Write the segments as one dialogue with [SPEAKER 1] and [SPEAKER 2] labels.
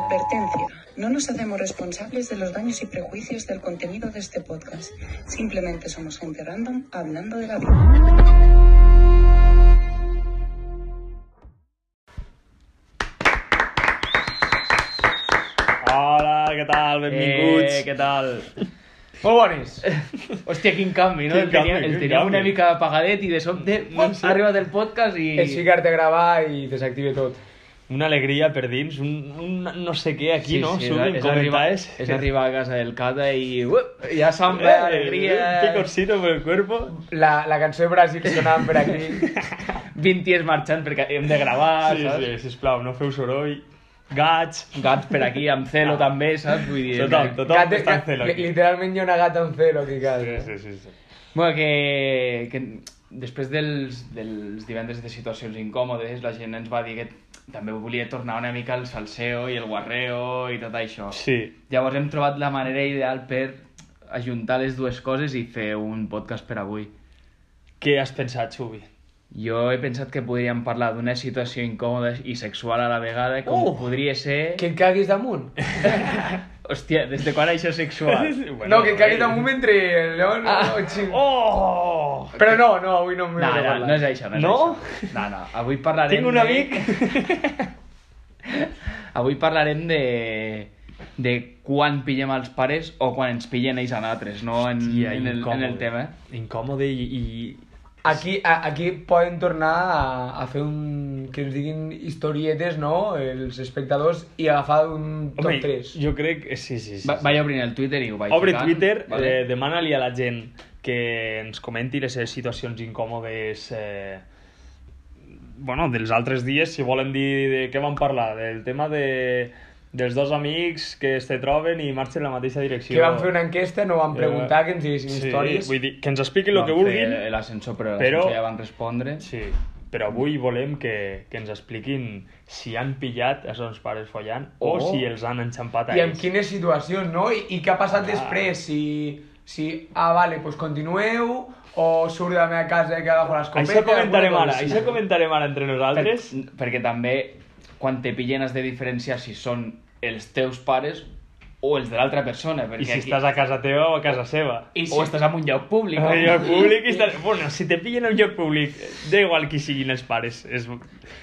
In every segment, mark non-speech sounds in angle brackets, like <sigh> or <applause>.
[SPEAKER 1] Advertencia. No nos hacemos responsables de los daños y prejuicios del contenido de este podcast. Simplemente somos gente random hablando de la vida.
[SPEAKER 2] Hola, què tal? Benvinguts.
[SPEAKER 3] Eh, què tal?
[SPEAKER 2] Molt
[SPEAKER 3] <laughs>
[SPEAKER 2] bonis.
[SPEAKER 3] Hòstia, quin canvi, no?
[SPEAKER 2] Quin
[SPEAKER 3] el teníem,
[SPEAKER 2] canvi,
[SPEAKER 3] el
[SPEAKER 2] quin
[SPEAKER 3] teníem
[SPEAKER 2] canvi.
[SPEAKER 3] una mica apagadet i de sobte
[SPEAKER 2] No
[SPEAKER 3] no
[SPEAKER 2] sé.
[SPEAKER 3] sé. ha arribat el podcast i...
[SPEAKER 2] És ficar-te a gravar i desactive tot.
[SPEAKER 4] Una alegria per dins, un, un no sé què aquí, sí, no? Sí,
[SPEAKER 3] és,
[SPEAKER 4] Suben
[SPEAKER 3] és, arribar,
[SPEAKER 4] comentaris.
[SPEAKER 3] és
[SPEAKER 4] <laughs>
[SPEAKER 3] arribar a casa del Cata i... Uep, ja sembla
[SPEAKER 4] Eh,
[SPEAKER 3] alegria...
[SPEAKER 4] Un picorcito por el cuerpo.
[SPEAKER 2] La, la cançó de Brasil sonant per aquí.
[SPEAKER 3] <laughs> 20 dies marxant perquè hem de gravar,
[SPEAKER 4] sí,
[SPEAKER 3] saps?
[SPEAKER 4] sí, sisplau, no feu soroll. Gats.
[SPEAKER 3] Gats per aquí, amb celo també, saps? Vull dir...
[SPEAKER 4] Ah.
[SPEAKER 3] eh,
[SPEAKER 4] Tothom,
[SPEAKER 3] que-
[SPEAKER 4] tothom
[SPEAKER 2] Gata-
[SPEAKER 4] està en
[SPEAKER 2] ga-
[SPEAKER 4] celo
[SPEAKER 2] li-
[SPEAKER 4] aquí.
[SPEAKER 2] Literalment hi ha una gata en celo aquí a
[SPEAKER 4] Sí,
[SPEAKER 2] casa.
[SPEAKER 4] sí, sí, sí.
[SPEAKER 3] Bueno, que, que després dels, dels divendres de situacions incòmodes, la gent ens va dir que també volia tornar una mica al salseo i el guarreo i tot això.
[SPEAKER 4] Sí.
[SPEAKER 3] Llavors hem trobat la manera ideal per ajuntar les dues coses i fer un podcast per avui.
[SPEAKER 4] Què has pensat, Xubi?
[SPEAKER 3] Jo he pensat que podríem parlar d'una situació incòmoda i sexual a la vegada, com
[SPEAKER 4] Oh!
[SPEAKER 3] podria ser...
[SPEAKER 2] Que et caguis damunt.
[SPEAKER 3] <laughs> Hòstia, des de quan això és
[SPEAKER 2] <laughs>
[SPEAKER 3] sexual?
[SPEAKER 2] no, que et caguis damunt mentre... No, no, no,
[SPEAKER 4] Ah.
[SPEAKER 2] <laughs> xing.
[SPEAKER 4] Oh!
[SPEAKER 2] Però no, no, avui no
[SPEAKER 3] No,
[SPEAKER 2] m'ho he
[SPEAKER 3] no, no és això, no és
[SPEAKER 4] No?
[SPEAKER 3] això. No, no, avui parlarem...
[SPEAKER 4] Tinc un
[SPEAKER 3] de-
[SPEAKER 4] amic...
[SPEAKER 3] <laughs> Avui parlarem de de quan pillem els pares o quan ens pillen ells a nosaltres, no en,
[SPEAKER 4] Tia,
[SPEAKER 3] en, el, en el
[SPEAKER 4] incòmode.
[SPEAKER 3] tema.
[SPEAKER 4] Incòmode i... i...
[SPEAKER 2] Aquí, a, aquí poden tornar a, a fer un... que ens diguin historietes, no?, els espectadors, i agafar un top
[SPEAKER 4] Home,
[SPEAKER 2] 3.
[SPEAKER 4] jo crec... que- Sí, sí, sí.
[SPEAKER 3] Va,
[SPEAKER 4] sí.
[SPEAKER 3] vaig obrint el Twitter i ho vaig
[SPEAKER 4] Obre
[SPEAKER 3] ficant,
[SPEAKER 4] Twitter,
[SPEAKER 3] vale?
[SPEAKER 4] eh, demana-li a la gent que ens comenti les seves situacions incòmodes eh, bueno, dels altres dies, si volen dir de què van parlar, del tema de, dels dos amics que es te troben i marxen en la mateixa direcció. Eh,
[SPEAKER 2] Que van fer una enquesta, no van preguntar, que ens diguessin
[SPEAKER 4] sí,
[SPEAKER 2] històries.
[SPEAKER 4] Vull dir, que ens expliquin el
[SPEAKER 3] Van
[SPEAKER 4] que
[SPEAKER 3] fer
[SPEAKER 4] vulguin,
[SPEAKER 3] Doncs, eh, L'ascensor, però,
[SPEAKER 4] però-
[SPEAKER 3] però... ja van respondre.
[SPEAKER 4] sí, però avui volem que, que ens expliquin si han pillat els seus pares follant o
[SPEAKER 2] Oh.
[SPEAKER 4] si els han enxampat a
[SPEAKER 2] I en
[SPEAKER 4] ells.
[SPEAKER 2] quines situacions, no? I, i què ha passat després? Si, si, ah, vale, doncs continueu, o surt de la meva casa i que agafo l'escopeta...
[SPEAKER 4] Això comentarem
[SPEAKER 2] alguna
[SPEAKER 4] ara,
[SPEAKER 2] cosa així.
[SPEAKER 4] això comentarem ara entre
[SPEAKER 3] Per,
[SPEAKER 4] nosaltres.
[SPEAKER 3] perquè també quan te pillen has de diferenciar si són els teus pares o els de l'altra persona. Perquè
[SPEAKER 4] I si estàs a casa teva o a casa seva.
[SPEAKER 3] I si... Ah, O estàs en un lloc públic.
[SPEAKER 4] En un lloc públic i estàs... Bueno, si te pillen en un lloc públic, da igual qui siguin els pares. És...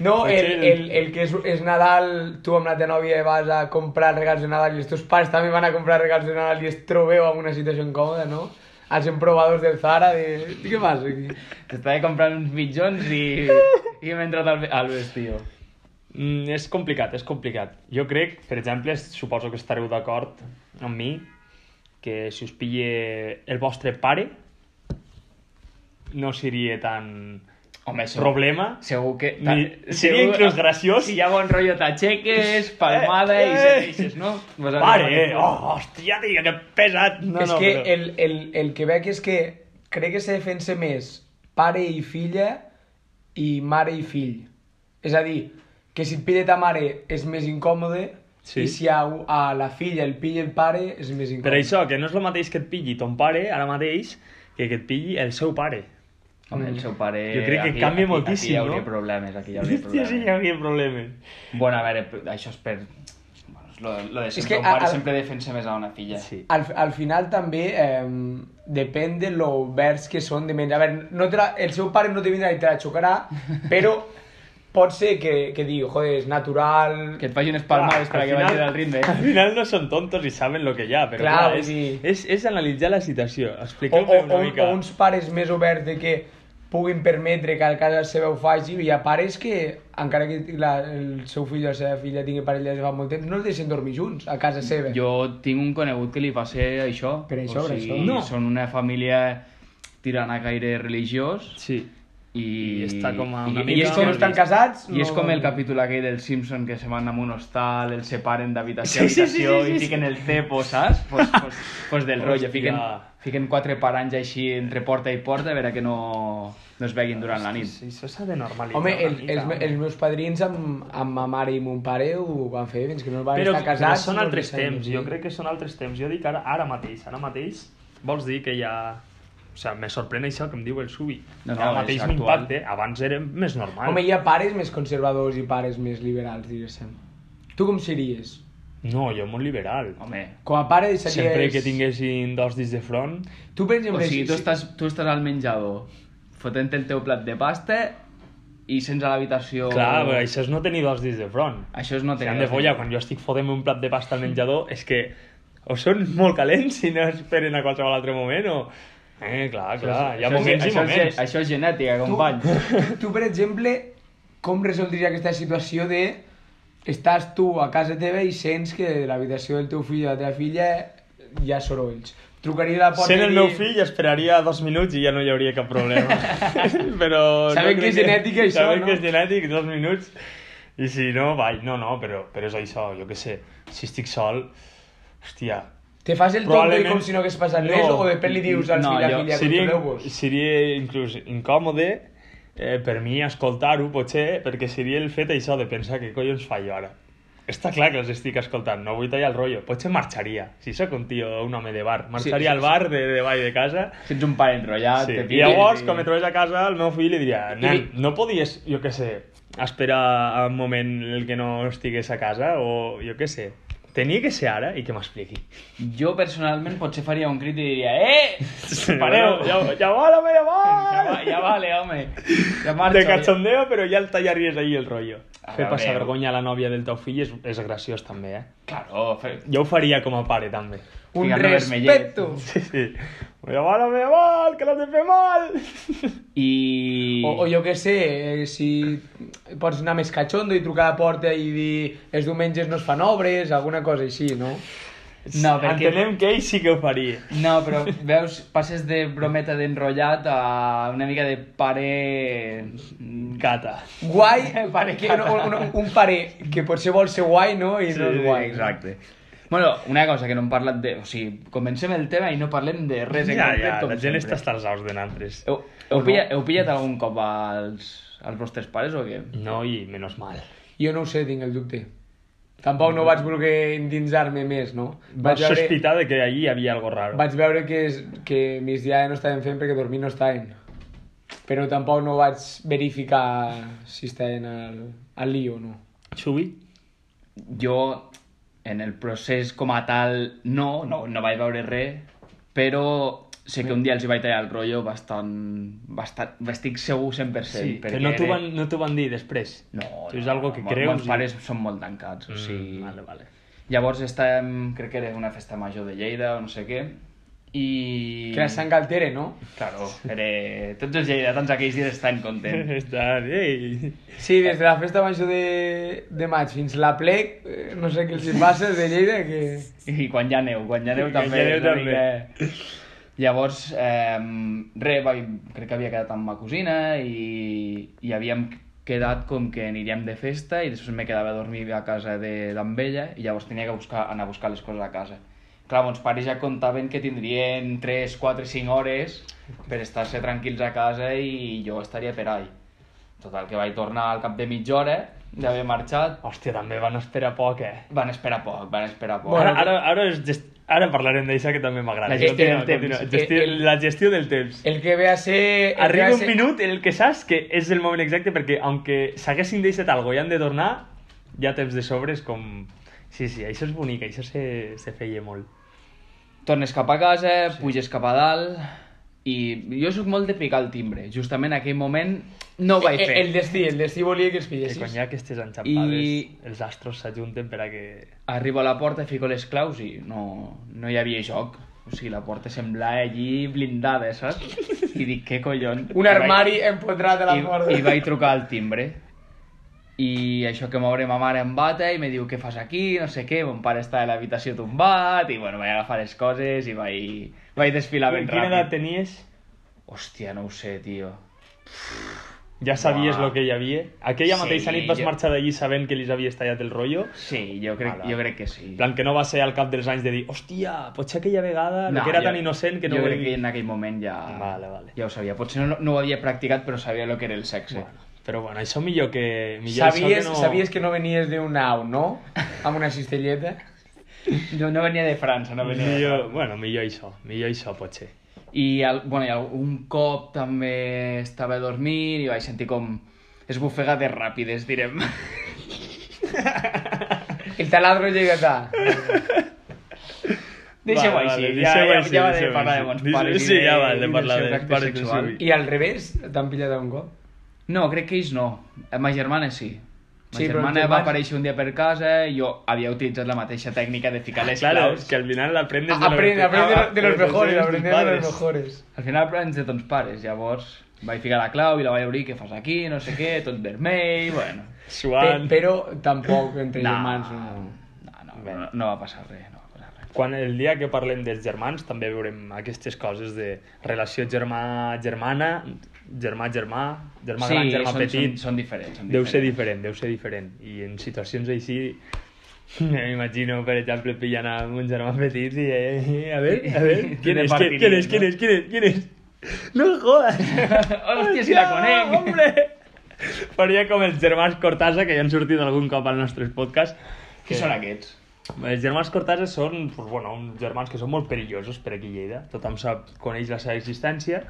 [SPEAKER 2] No,
[SPEAKER 4] Potser
[SPEAKER 2] el, el, el que és, és Nadal, tu amb la teva nòvia vas a comprar regals de Nadal i els teus pares també van a comprar regals de Nadal i es trobeu en una situació incòmoda, no? Els emprovadors del Zara de... Què passa aquí?
[SPEAKER 3] T'estava comprant uns mitjons
[SPEAKER 4] <laughs>
[SPEAKER 3] i, i m'he entrat al, al vestit.
[SPEAKER 4] Mm, és complicat, és complicat. Jo crec, per exemple, suposo que estareu d'acord amb mi, que si us pille el vostre pare, no seria tan
[SPEAKER 3] Home, això...
[SPEAKER 4] problema.
[SPEAKER 3] Segur que...
[SPEAKER 4] Ni-
[SPEAKER 3] ta-
[SPEAKER 4] seria
[SPEAKER 3] segur-
[SPEAKER 4] inclús graciós.
[SPEAKER 3] Si hi ha bon rotllo, t'aixeques, palmada
[SPEAKER 4] Eh,
[SPEAKER 3] i
[SPEAKER 4] eh.
[SPEAKER 3] segueixes, no? Vosaltres
[SPEAKER 4] Pare, eh?
[SPEAKER 3] mateixos.
[SPEAKER 4] oh, hòstia, tia, que pesat! No,
[SPEAKER 2] és
[SPEAKER 4] no,
[SPEAKER 2] que
[SPEAKER 4] però-
[SPEAKER 2] el, el, el Quebec és que crec que se defensa més pare i filla i mare i fill. És a dir, que si et pilla ta mare és més incòmode
[SPEAKER 4] Sí.
[SPEAKER 2] i si a, a la filla el pilla el pare és més incòmode.
[SPEAKER 4] Per això, que no és el mateix que et pilli ton pare ara mateix que que et pilli el seu pare.
[SPEAKER 3] Home, el seu pare...
[SPEAKER 4] Jo crec que canvia moltíssim,
[SPEAKER 3] aquí hi hauria
[SPEAKER 4] no?
[SPEAKER 3] problemes, aquí hi hauria
[SPEAKER 4] Hòstia,
[SPEAKER 3] problemes.
[SPEAKER 4] sí, hi hauria problemes.
[SPEAKER 3] Bueno, a veure, això és per... Bueno, és lo, lo de sempre,
[SPEAKER 2] que
[SPEAKER 3] que, un pare
[SPEAKER 2] al-
[SPEAKER 3] sempre defensa més a una filla.
[SPEAKER 4] Sí.
[SPEAKER 2] Al, al final també eh, depèn de lo oberts que són de menys. A veure, no te la, el seu pare no te vindrà i te la
[SPEAKER 3] <laughs>
[SPEAKER 2] xocarà, però pot ser que, que digui, joder, és natural...
[SPEAKER 3] Que et faci unes palmades
[SPEAKER 4] Clar,
[SPEAKER 3] perquè
[SPEAKER 4] al
[SPEAKER 3] vagin
[SPEAKER 4] final-
[SPEAKER 3] al ritme. eh?
[SPEAKER 4] Al final no són tontos i saben lo que hi ha, però clar,
[SPEAKER 2] Clar, vull
[SPEAKER 4] és,
[SPEAKER 2] dir-
[SPEAKER 4] és, és analitzar la situació.
[SPEAKER 2] O, o,
[SPEAKER 4] Expliqueu-me una
[SPEAKER 2] o,
[SPEAKER 4] mica.
[SPEAKER 2] o uns pares més oberts de que puguin permetre que a casa seva ho faci, hi ha pares que, encara que la, el seu fill o la seva filla tingui parella des de fa molt temps, no els deixen dormir junts a casa seva.
[SPEAKER 3] Jo tinc un conegut que li va ser això.
[SPEAKER 2] Per això,
[SPEAKER 3] o
[SPEAKER 2] per
[SPEAKER 3] sigui,
[SPEAKER 2] això.
[SPEAKER 4] No.
[SPEAKER 3] Són una família tirant a gaire religiós.
[SPEAKER 4] Sí.
[SPEAKER 3] I,
[SPEAKER 4] I està com a una
[SPEAKER 3] i,
[SPEAKER 4] mica-
[SPEAKER 3] i és
[SPEAKER 4] ells
[SPEAKER 3] com
[SPEAKER 4] no
[SPEAKER 2] estan casats,
[SPEAKER 3] I és
[SPEAKER 2] no-
[SPEAKER 3] com el capítol aquell del Simpson que se van a un hostal, els separen d'habitació a
[SPEAKER 4] Sí, sí, sí,
[SPEAKER 3] habitació
[SPEAKER 4] sí, sí,
[SPEAKER 3] i
[SPEAKER 4] sí.
[SPEAKER 3] fiquen el cepo, saps? Pues, pues, pues
[SPEAKER 4] <laughs>
[SPEAKER 3] del rotllo.
[SPEAKER 4] Hòstia.
[SPEAKER 3] Fiquen, fiquen quatre paranys així entre porta i porta a veure que no, no es veguin durant la nit.
[SPEAKER 4] Sí, això s'ha de normalitzar
[SPEAKER 2] Home,
[SPEAKER 4] una
[SPEAKER 2] el,
[SPEAKER 4] mica,
[SPEAKER 2] els, me- els meus padrins amb, amb ma mare i mon pare ho van fer fins que no van
[SPEAKER 4] però,
[SPEAKER 2] estar
[SPEAKER 4] però
[SPEAKER 2] casats.
[SPEAKER 4] són
[SPEAKER 2] no
[SPEAKER 4] altres
[SPEAKER 2] els deixen
[SPEAKER 4] temps,
[SPEAKER 2] dormir.
[SPEAKER 4] jo crec que són altres temps. Jo dic ara, ara mateix, ara mateix, vols dir que ja... O sigui, me sorprèn això que em diu el Subi.
[SPEAKER 3] No, no,
[SPEAKER 4] ara
[SPEAKER 3] és
[SPEAKER 4] mateix
[SPEAKER 3] actual.
[SPEAKER 4] m'impacta, abans era més normal.
[SPEAKER 2] Home, hi ha pares més conservadors i pares més liberals, diguéssim. Tu com series?
[SPEAKER 4] No, jo molt liberal.
[SPEAKER 3] Home,
[SPEAKER 2] Com a pare series...
[SPEAKER 4] Sempre que tinguessin dos dits de front,
[SPEAKER 2] Tu, per exemple,
[SPEAKER 3] o sigui,
[SPEAKER 2] si-
[SPEAKER 3] tu
[SPEAKER 2] si-
[SPEAKER 3] estàs, tu estàs al menjador fotent el teu plat de pasta i sents a l'habitació...
[SPEAKER 4] clar, però això és no tenir dos dits de front.
[SPEAKER 3] Això és no
[SPEAKER 4] Si
[SPEAKER 3] tenir...
[SPEAKER 4] han de follar, quan jo estic fotent un plat de pasta al menjador, és que o són molt calents i no esperen a qualsevol altre moment, o... Eh, clar, clar, hi ha
[SPEAKER 3] Això és-
[SPEAKER 4] moments i
[SPEAKER 3] això és-
[SPEAKER 4] moments.
[SPEAKER 3] Això és genètica, company.
[SPEAKER 2] tu, per exemple, com resoldries aquesta situació de estàs tu a casa teva i sents que de l'habitació del teu fill o de la teva filla hi ha sorolls. Trucaria a la porta
[SPEAKER 4] Sent
[SPEAKER 2] i
[SPEAKER 4] el
[SPEAKER 2] dir-
[SPEAKER 4] meu fill esperaria dos minuts i ja no hi hauria cap problema. però...
[SPEAKER 2] Sabem
[SPEAKER 4] no
[SPEAKER 2] que
[SPEAKER 4] crec
[SPEAKER 2] és genètic, això,
[SPEAKER 4] Sabem
[SPEAKER 2] no?
[SPEAKER 4] que és genètic, dos minuts. I si no, vai, no, no, però, però és això, jo què sé. Si estic sol, hòstia,
[SPEAKER 2] Te fas el tonto i com si no hagués passat res
[SPEAKER 4] No.
[SPEAKER 2] o de pel li dius al
[SPEAKER 3] No,
[SPEAKER 2] fill i la
[SPEAKER 3] jo-
[SPEAKER 2] filla,
[SPEAKER 4] seria,
[SPEAKER 2] controleu-vos.
[SPEAKER 4] seria inclús incòmode eh, per mi escoltar-ho, potser, perquè seria el fet això de pensar que collons fa jo ara. Està clar que els estic escoltant, no vull tallar el rotllo. Potser marxaria, si sóc un tio, un home de bar. Marxaria
[SPEAKER 3] sí,
[SPEAKER 4] al bar de, de ball de casa.
[SPEAKER 3] <laughs> Si ets un pare enrotllat,
[SPEAKER 4] Sí.
[SPEAKER 3] te
[SPEAKER 4] I
[SPEAKER 3] piques
[SPEAKER 4] llavors, quan me trobés a casa, el meu fill li diria, nen,
[SPEAKER 2] I-
[SPEAKER 4] no podies, jo què sé, esperar un moment en el que no estigués a casa, o jo què sé. Tenia que ser ara i que m'expliqui.
[SPEAKER 3] Jo personalment potser faria un crit i diria <laughs> Eh! Pareu!
[SPEAKER 4] Ja, ja va, home, ja va!
[SPEAKER 3] Ja, va, ja vale, home. Ja marxo.
[SPEAKER 4] de
[SPEAKER 3] ja.
[SPEAKER 4] cachondeo, però ja el tallaries ahí el rotllo.
[SPEAKER 3] A
[SPEAKER 4] Fer
[SPEAKER 3] veure.
[SPEAKER 4] passar vergonya eh? a la nòvia del teu fill és, és graciós també, eh?
[SPEAKER 3] Claro, fe...
[SPEAKER 4] Jo ho faria com a pare també.
[SPEAKER 2] Un
[SPEAKER 3] Ficar-me
[SPEAKER 2] respecto.
[SPEAKER 4] Sí, sí. Mira, mare meva, mal, que l'has de fer mal!
[SPEAKER 3] I...
[SPEAKER 2] O, o jo què sé, eh, si pots anar més cachondo i trucar a la porta i dir els diumenges no es fan obres, alguna cosa així, no?
[SPEAKER 3] No, perquè-
[SPEAKER 4] Entenem que ell sí que ho faria.
[SPEAKER 3] No, però veus, passes de brometa d'enrotllat a una mica de pare... mm,
[SPEAKER 4] Cata.
[SPEAKER 2] Guai, pare que, no, un, un, un pare que potser vol ser guai, no? I no és guai.
[SPEAKER 3] exacte. Bueno, una cosa que no hem parlat de... O sigui, comencem el tema i no parlem de res en
[SPEAKER 4] Ja,
[SPEAKER 3] concret,
[SPEAKER 4] ja,
[SPEAKER 3] com
[SPEAKER 4] la gent
[SPEAKER 3] sempre.
[SPEAKER 4] està hasta els aus de nantres.
[SPEAKER 3] Heu, heu, pillat, heu pillat algun cop als, als vostres pares o què?
[SPEAKER 4] No, i menys mal.
[SPEAKER 2] Jo no ho sé, tinc el dubte. Tampoc no vaig voler endinsar-me més, no?
[SPEAKER 4] Vaig sospitar de que allí hi havia algo raro.
[SPEAKER 2] vaig veure que, es, que migdiada no estaven fent perquè dormir no estaven. Però tampoc no vaig verificar si estaven al, al lío o no.
[SPEAKER 4] Xubi?
[SPEAKER 3] Jo, en el procés com a tal, no, no, no vaig veure res, però sé que un dia els hi vaig tallar el rotllo bastant... bastant estic segur 100%.
[SPEAKER 4] Sí,
[SPEAKER 3] perquè
[SPEAKER 4] però no t'ho
[SPEAKER 3] era-
[SPEAKER 4] van, no t'ho van dir després.
[SPEAKER 3] No,
[SPEAKER 4] Tu
[SPEAKER 3] no,
[SPEAKER 4] és algo que
[SPEAKER 3] no,
[SPEAKER 4] creus.
[SPEAKER 3] Meus
[SPEAKER 4] i-
[SPEAKER 3] pares són molt tancats, o sigui...
[SPEAKER 4] Mm, vale, <laughs> vale.
[SPEAKER 3] Llavors estàvem, crec que era una festa major de Lleida o no sé què, i...
[SPEAKER 2] Que era Sant Galtere, no?
[SPEAKER 3] Claro, era... tots els lleidatans aquells dies estan contents.
[SPEAKER 4] Estan, ei...
[SPEAKER 2] Sí, des de la festa major de, de maig fins la plec, eh, no sé què els hi passa de Lleida, que...
[SPEAKER 3] I quan ja aneu, quan ja aneu
[SPEAKER 4] Quan
[SPEAKER 3] també.
[SPEAKER 4] ja aneu
[SPEAKER 3] és una eh.
[SPEAKER 4] també.
[SPEAKER 3] Llavors, eh, re, va, crec que havia quedat amb ma cosina i, i havíem quedat com que aniríem de festa i després me quedava a dormir a casa de- d'en Bella i llavors tenia que buscar, anar a buscar les coses a casa. Clar, mons pares ja contaven que tindrien 3, 4, 5 hores per estar-se tranquils a casa i jo estaria per ahí. Total, que vaig tornar al cap de mitja hora d'haver marxat.
[SPEAKER 4] Hòstia, també van esperar poc, eh?
[SPEAKER 3] Van esperar poc, van esperar poc.
[SPEAKER 2] Bueno,
[SPEAKER 4] Ara, ara, ara, és gest... ara parlarem d'això que també m'agrada.
[SPEAKER 3] La gestió
[SPEAKER 4] Continua,
[SPEAKER 3] del temps.
[SPEAKER 4] continua.
[SPEAKER 2] Que
[SPEAKER 4] Gestió,
[SPEAKER 2] el-
[SPEAKER 4] La gestió del temps.
[SPEAKER 2] El que ve a ser... el que ve
[SPEAKER 4] Arriba
[SPEAKER 2] a
[SPEAKER 4] un
[SPEAKER 2] ser-
[SPEAKER 4] minut en el que saps que és el moment exacte perquè, aunque s'haguessin deixat algo i han de tornar, ja temps de sobres com... Sí, sí, això és bonic, això se, se feia molt.
[SPEAKER 3] Tornes cap a casa, sí. puges cap a dalt i jo sóc molt de picar el timbre. Justament en aquell moment no ho vaig
[SPEAKER 2] Eh,
[SPEAKER 3] fer.
[SPEAKER 2] El destí, el destí volia que els
[SPEAKER 4] Que quan
[SPEAKER 2] pillessis.
[SPEAKER 4] hi ha aquestes enxampades,
[SPEAKER 3] I-
[SPEAKER 4] els astros s'ajunten per a que...
[SPEAKER 3] Arribo a la porta, fico les claus i no, no hi havia joc. O sigui, la porta semblava allí blindada, saps? I dic, què collons?
[SPEAKER 2] Un armari empotrat a la
[SPEAKER 3] I,
[SPEAKER 2] porta.
[SPEAKER 3] vaig, i, i vaig trucar al timbre. I això que m'obre ma mare em bata i me diu què fas aquí, no sé què, mon pare està a l'habitació tombat i bueno, vaig agafar les coses i vaig, vaig desfilar ben
[SPEAKER 4] Quina
[SPEAKER 3] ràpid.
[SPEAKER 4] edat tenies?
[SPEAKER 3] Hòstia, no ho sé, tio.
[SPEAKER 4] Ja sabies
[SPEAKER 3] Buah.
[SPEAKER 4] el que hi havia? Aquella
[SPEAKER 3] Sí,
[SPEAKER 4] mateixa nit vas
[SPEAKER 3] jo-
[SPEAKER 4] marxar d'allí sabent que li havies tallat el rotllo?
[SPEAKER 3] Sí, jo crec,
[SPEAKER 4] Mala.
[SPEAKER 3] jo crec que sí.
[SPEAKER 4] En plan, que no va ser al cap dels anys de dir hòstia, potser aquella vegada, no, que era
[SPEAKER 3] jo-
[SPEAKER 4] tan innocent que no...
[SPEAKER 3] Jo
[SPEAKER 4] ho
[SPEAKER 3] crec
[SPEAKER 4] he-
[SPEAKER 3] que en aquell moment ja...
[SPEAKER 4] Vale, vale.
[SPEAKER 3] Ja ho sabia. Potser no, no ho havia practicat, però sabia el que era el sexe.
[SPEAKER 4] Bueno, però bueno, això millor que... Millor això
[SPEAKER 2] Sabies,
[SPEAKER 4] que no...
[SPEAKER 2] sabies que no venies d'un au, no? Amb una cistelleta.
[SPEAKER 3] No, no venia de França, no venia de
[SPEAKER 4] Millor,
[SPEAKER 3] França.
[SPEAKER 4] bueno, millor això, millor això potser.
[SPEAKER 3] I, el, bueno, i un cop també estava a dormir i <laughs> vaig sentir com esbufegades ràpides, direm.
[SPEAKER 2] El taladro llega acá.
[SPEAKER 3] Deixa-ho
[SPEAKER 4] Vale,
[SPEAKER 3] així,
[SPEAKER 4] vale,
[SPEAKER 3] ja,
[SPEAKER 4] deixa-ho
[SPEAKER 3] ja,
[SPEAKER 4] així,
[SPEAKER 3] ja va de
[SPEAKER 4] deixa-ho
[SPEAKER 3] parlar
[SPEAKER 4] així.
[SPEAKER 3] de bons
[SPEAKER 4] Deixa-
[SPEAKER 3] pares
[SPEAKER 4] sí,
[SPEAKER 3] i de,
[SPEAKER 4] ja va, de
[SPEAKER 3] i del
[SPEAKER 4] parlar
[SPEAKER 3] seu
[SPEAKER 4] de
[SPEAKER 3] tracte
[SPEAKER 4] pares
[SPEAKER 3] sexual.
[SPEAKER 4] sexuals.
[SPEAKER 2] I al revés, t'han pillat un cop.
[SPEAKER 3] No, crec que ells no. Eh, Ma germana sí. Ma
[SPEAKER 2] Sí,
[SPEAKER 3] sí,
[SPEAKER 2] però
[SPEAKER 3] germana
[SPEAKER 2] els
[SPEAKER 3] va
[SPEAKER 2] germans-
[SPEAKER 3] aparèixer un dia per casa i jo havia utilitzat la mateixa tècnica de ficar les
[SPEAKER 4] Claro, es
[SPEAKER 3] claus.
[SPEAKER 4] que al final aprendes de, lo que
[SPEAKER 2] Aprende,
[SPEAKER 4] te-
[SPEAKER 2] aprende
[SPEAKER 4] ah,
[SPEAKER 2] de los mejores,
[SPEAKER 4] tus
[SPEAKER 2] aprende de
[SPEAKER 4] padres.
[SPEAKER 2] los mejores.
[SPEAKER 3] Al final aprens de tons pares, llavors vaig ficar la clau i la vaig obrir, què fas aquí, no sé què, tot vermell, bueno.
[SPEAKER 4] Suan.
[SPEAKER 2] Pe- Però tampoc entre
[SPEAKER 3] No,
[SPEAKER 2] germans.
[SPEAKER 3] no,
[SPEAKER 2] No.
[SPEAKER 3] no, no, no va passar res, no va passar res.
[SPEAKER 4] Quan el dia que parlem dels germans també veurem aquestes coses de relació germà-germana, germà-germà, germà gran, germà
[SPEAKER 3] són,
[SPEAKER 4] petit...
[SPEAKER 3] Són, són diferents. Són
[SPEAKER 4] Deu ser
[SPEAKER 3] diferents.
[SPEAKER 4] diferent, deu ser diferent. I en situacions així, <laughs> m'imagino, per exemple, pillant a un germà petit i... Eh, a veure, a veure, ¿quién
[SPEAKER 3] De
[SPEAKER 4] es? ¿Quién, quién es? ¿Quién es? ¿Quién es? ¿Quién es? ¡No jodas!
[SPEAKER 3] <laughs> Hòstia, si la conec!
[SPEAKER 4] Hombre! Faria com els germans Cortasa, que ja han sortit algun cop al nostre podcast.
[SPEAKER 3] <laughs> Qui són aquests?
[SPEAKER 4] Els germans Cortasa són, pues, bueno, uns germans que són molt perillosos per aquí a Lleida. Tothom sap, coneix la seva existència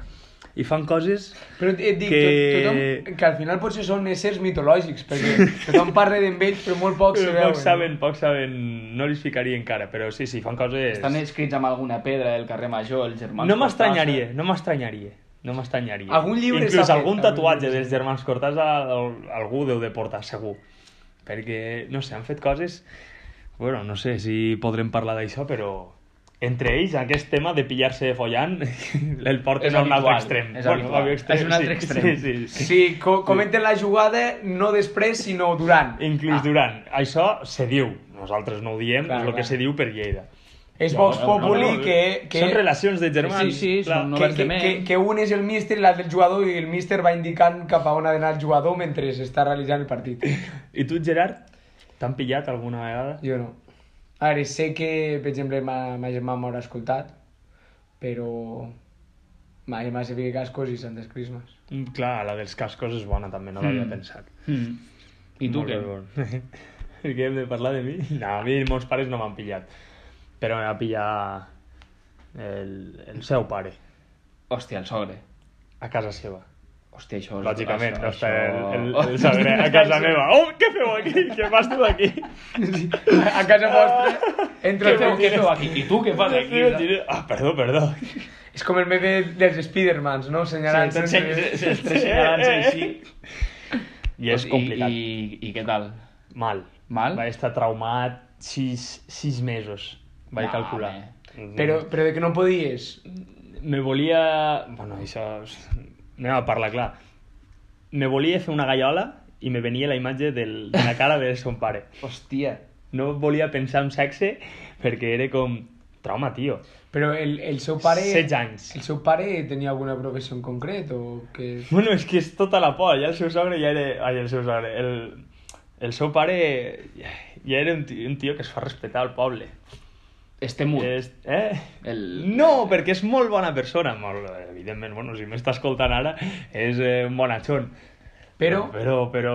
[SPEAKER 4] i fan coses
[SPEAKER 2] Però et dic, que...
[SPEAKER 4] Que-
[SPEAKER 2] Tothom, que al final potser són éssers mitològics, perquè tothom parla d'en ells, però molt pocs se eh?
[SPEAKER 4] Però
[SPEAKER 2] veuen.
[SPEAKER 4] Eh, poc saben, poc saben, no els ficaria encara, però sí, sí, fan coses...
[SPEAKER 3] Estan escrits amb alguna pedra del carrer Major, els germans
[SPEAKER 4] No
[SPEAKER 3] Cortázar.
[SPEAKER 4] m'estranyaria, no m'estranyaria. No m'estranyaria.
[SPEAKER 2] Algun llibre
[SPEAKER 4] Inclús
[SPEAKER 2] s'ha fet,
[SPEAKER 4] algun
[SPEAKER 2] algun
[SPEAKER 4] tatuatge
[SPEAKER 2] llibre s'ha
[SPEAKER 4] dels germans Cortàs algú deu de portar, segur. Perquè, no sé, han fet coses... Bueno, no sé si podrem parlar d'això, però entre ells, aquest tema de pillar-se follant, <laughs> el porten
[SPEAKER 3] És
[SPEAKER 4] a un altre
[SPEAKER 3] habitual,
[SPEAKER 4] extrem.
[SPEAKER 3] és
[SPEAKER 4] Bueno,
[SPEAKER 3] habitual.
[SPEAKER 4] a un extrem,
[SPEAKER 3] És un
[SPEAKER 4] sí,
[SPEAKER 3] altre extrem.
[SPEAKER 4] Sí, sí, sí.
[SPEAKER 2] Sí, co comenten la jugada no després, sinó durant.
[SPEAKER 4] Inclús
[SPEAKER 3] Ah.
[SPEAKER 4] durant. Això se diu. Nosaltres no ho diem,
[SPEAKER 2] Clar,
[SPEAKER 4] és el
[SPEAKER 2] clar.
[SPEAKER 4] que se diu per Lleida.
[SPEAKER 2] És Vox
[SPEAKER 4] Ah,
[SPEAKER 3] No, no,
[SPEAKER 2] Populi
[SPEAKER 3] no, no.
[SPEAKER 2] que, que...
[SPEAKER 4] eh, Són relacions de germans.
[SPEAKER 3] Sí, sí,
[SPEAKER 4] clar.
[SPEAKER 3] són
[SPEAKER 2] Que,
[SPEAKER 3] noves
[SPEAKER 2] que,
[SPEAKER 3] de ment.
[SPEAKER 2] que, que un és el míster i l'altre el jugador i el míster va indicant cap a on ha d'anar el jugador mentre s'està realitzant el partit.
[SPEAKER 4] I tu, Gerard, t'han pillat alguna vegada?
[SPEAKER 2] Jo no. A veure, sé que, per exemple, ma, ma germà m'haurà escoltat, però ma germà se fica cascos i Santes Crismes.
[SPEAKER 4] Mm, Clar, la dels cascos és bona també, no l'havia pensat.
[SPEAKER 3] Mm. I tu què?
[SPEAKER 4] què? I <laughs> què hem de parlar
[SPEAKER 3] <laughs>
[SPEAKER 4] de mi? No, a mi meus pares no m'han pillat. Però m'ha pillat el, el seu pare,
[SPEAKER 3] Hòstia, el sogre.
[SPEAKER 4] a casa seva.
[SPEAKER 3] Hòstia, això... és-
[SPEAKER 4] Lògicament,
[SPEAKER 3] això-
[SPEAKER 4] no està
[SPEAKER 3] això-
[SPEAKER 4] el, el, el sogre a casa
[SPEAKER 3] <laughs>
[SPEAKER 4] meva. Oh, què feu aquí? Què fas tu aquí?
[SPEAKER 2] <laughs> A casa vostra entra
[SPEAKER 3] Què
[SPEAKER 2] el
[SPEAKER 3] feu,
[SPEAKER 2] teu
[SPEAKER 3] què feu aquí? I tu què fas aquí?
[SPEAKER 4] Ah, perdó, perdó.
[SPEAKER 2] És com el meme dels Spidermans, no? Senyalant.
[SPEAKER 3] Sí,
[SPEAKER 2] sense-
[SPEAKER 3] Els tres senyalants
[SPEAKER 4] <laughs>
[SPEAKER 3] així.
[SPEAKER 4] I és complicat.
[SPEAKER 3] I, i, I què tal?
[SPEAKER 4] Mal.
[SPEAKER 3] Mal?
[SPEAKER 4] Vaig estar traumat 6, 6 mesos, vaig
[SPEAKER 3] No,
[SPEAKER 4] calcular.
[SPEAKER 2] Però, però de que no podies.
[SPEAKER 4] Me volia... Bueno, això... és- Anem a parlar, clar. Me volia fer una gallola i me venia la imatge del, de la cara de son pare.
[SPEAKER 3] Hòstia.
[SPEAKER 4] No volia pensar en sexe perquè era com... Trauma, tio.
[SPEAKER 2] Però el, el seu pare...
[SPEAKER 4] 16 anys.
[SPEAKER 2] El seu pare tenia alguna professió en concret o que...
[SPEAKER 4] Bueno, és que és tota la por. Ja el seu sogre ja era... Ai, el seu sogre... El, el seu pare ja era un tio, un tio que es fa respectar al poble.
[SPEAKER 3] Este mut.
[SPEAKER 4] És, eh?
[SPEAKER 3] El-
[SPEAKER 4] No, perquè és molt bona persona. Molt, evidentment, bueno, si m'està escoltant ara, és eh, un bonachón.
[SPEAKER 2] Però...
[SPEAKER 4] Però, però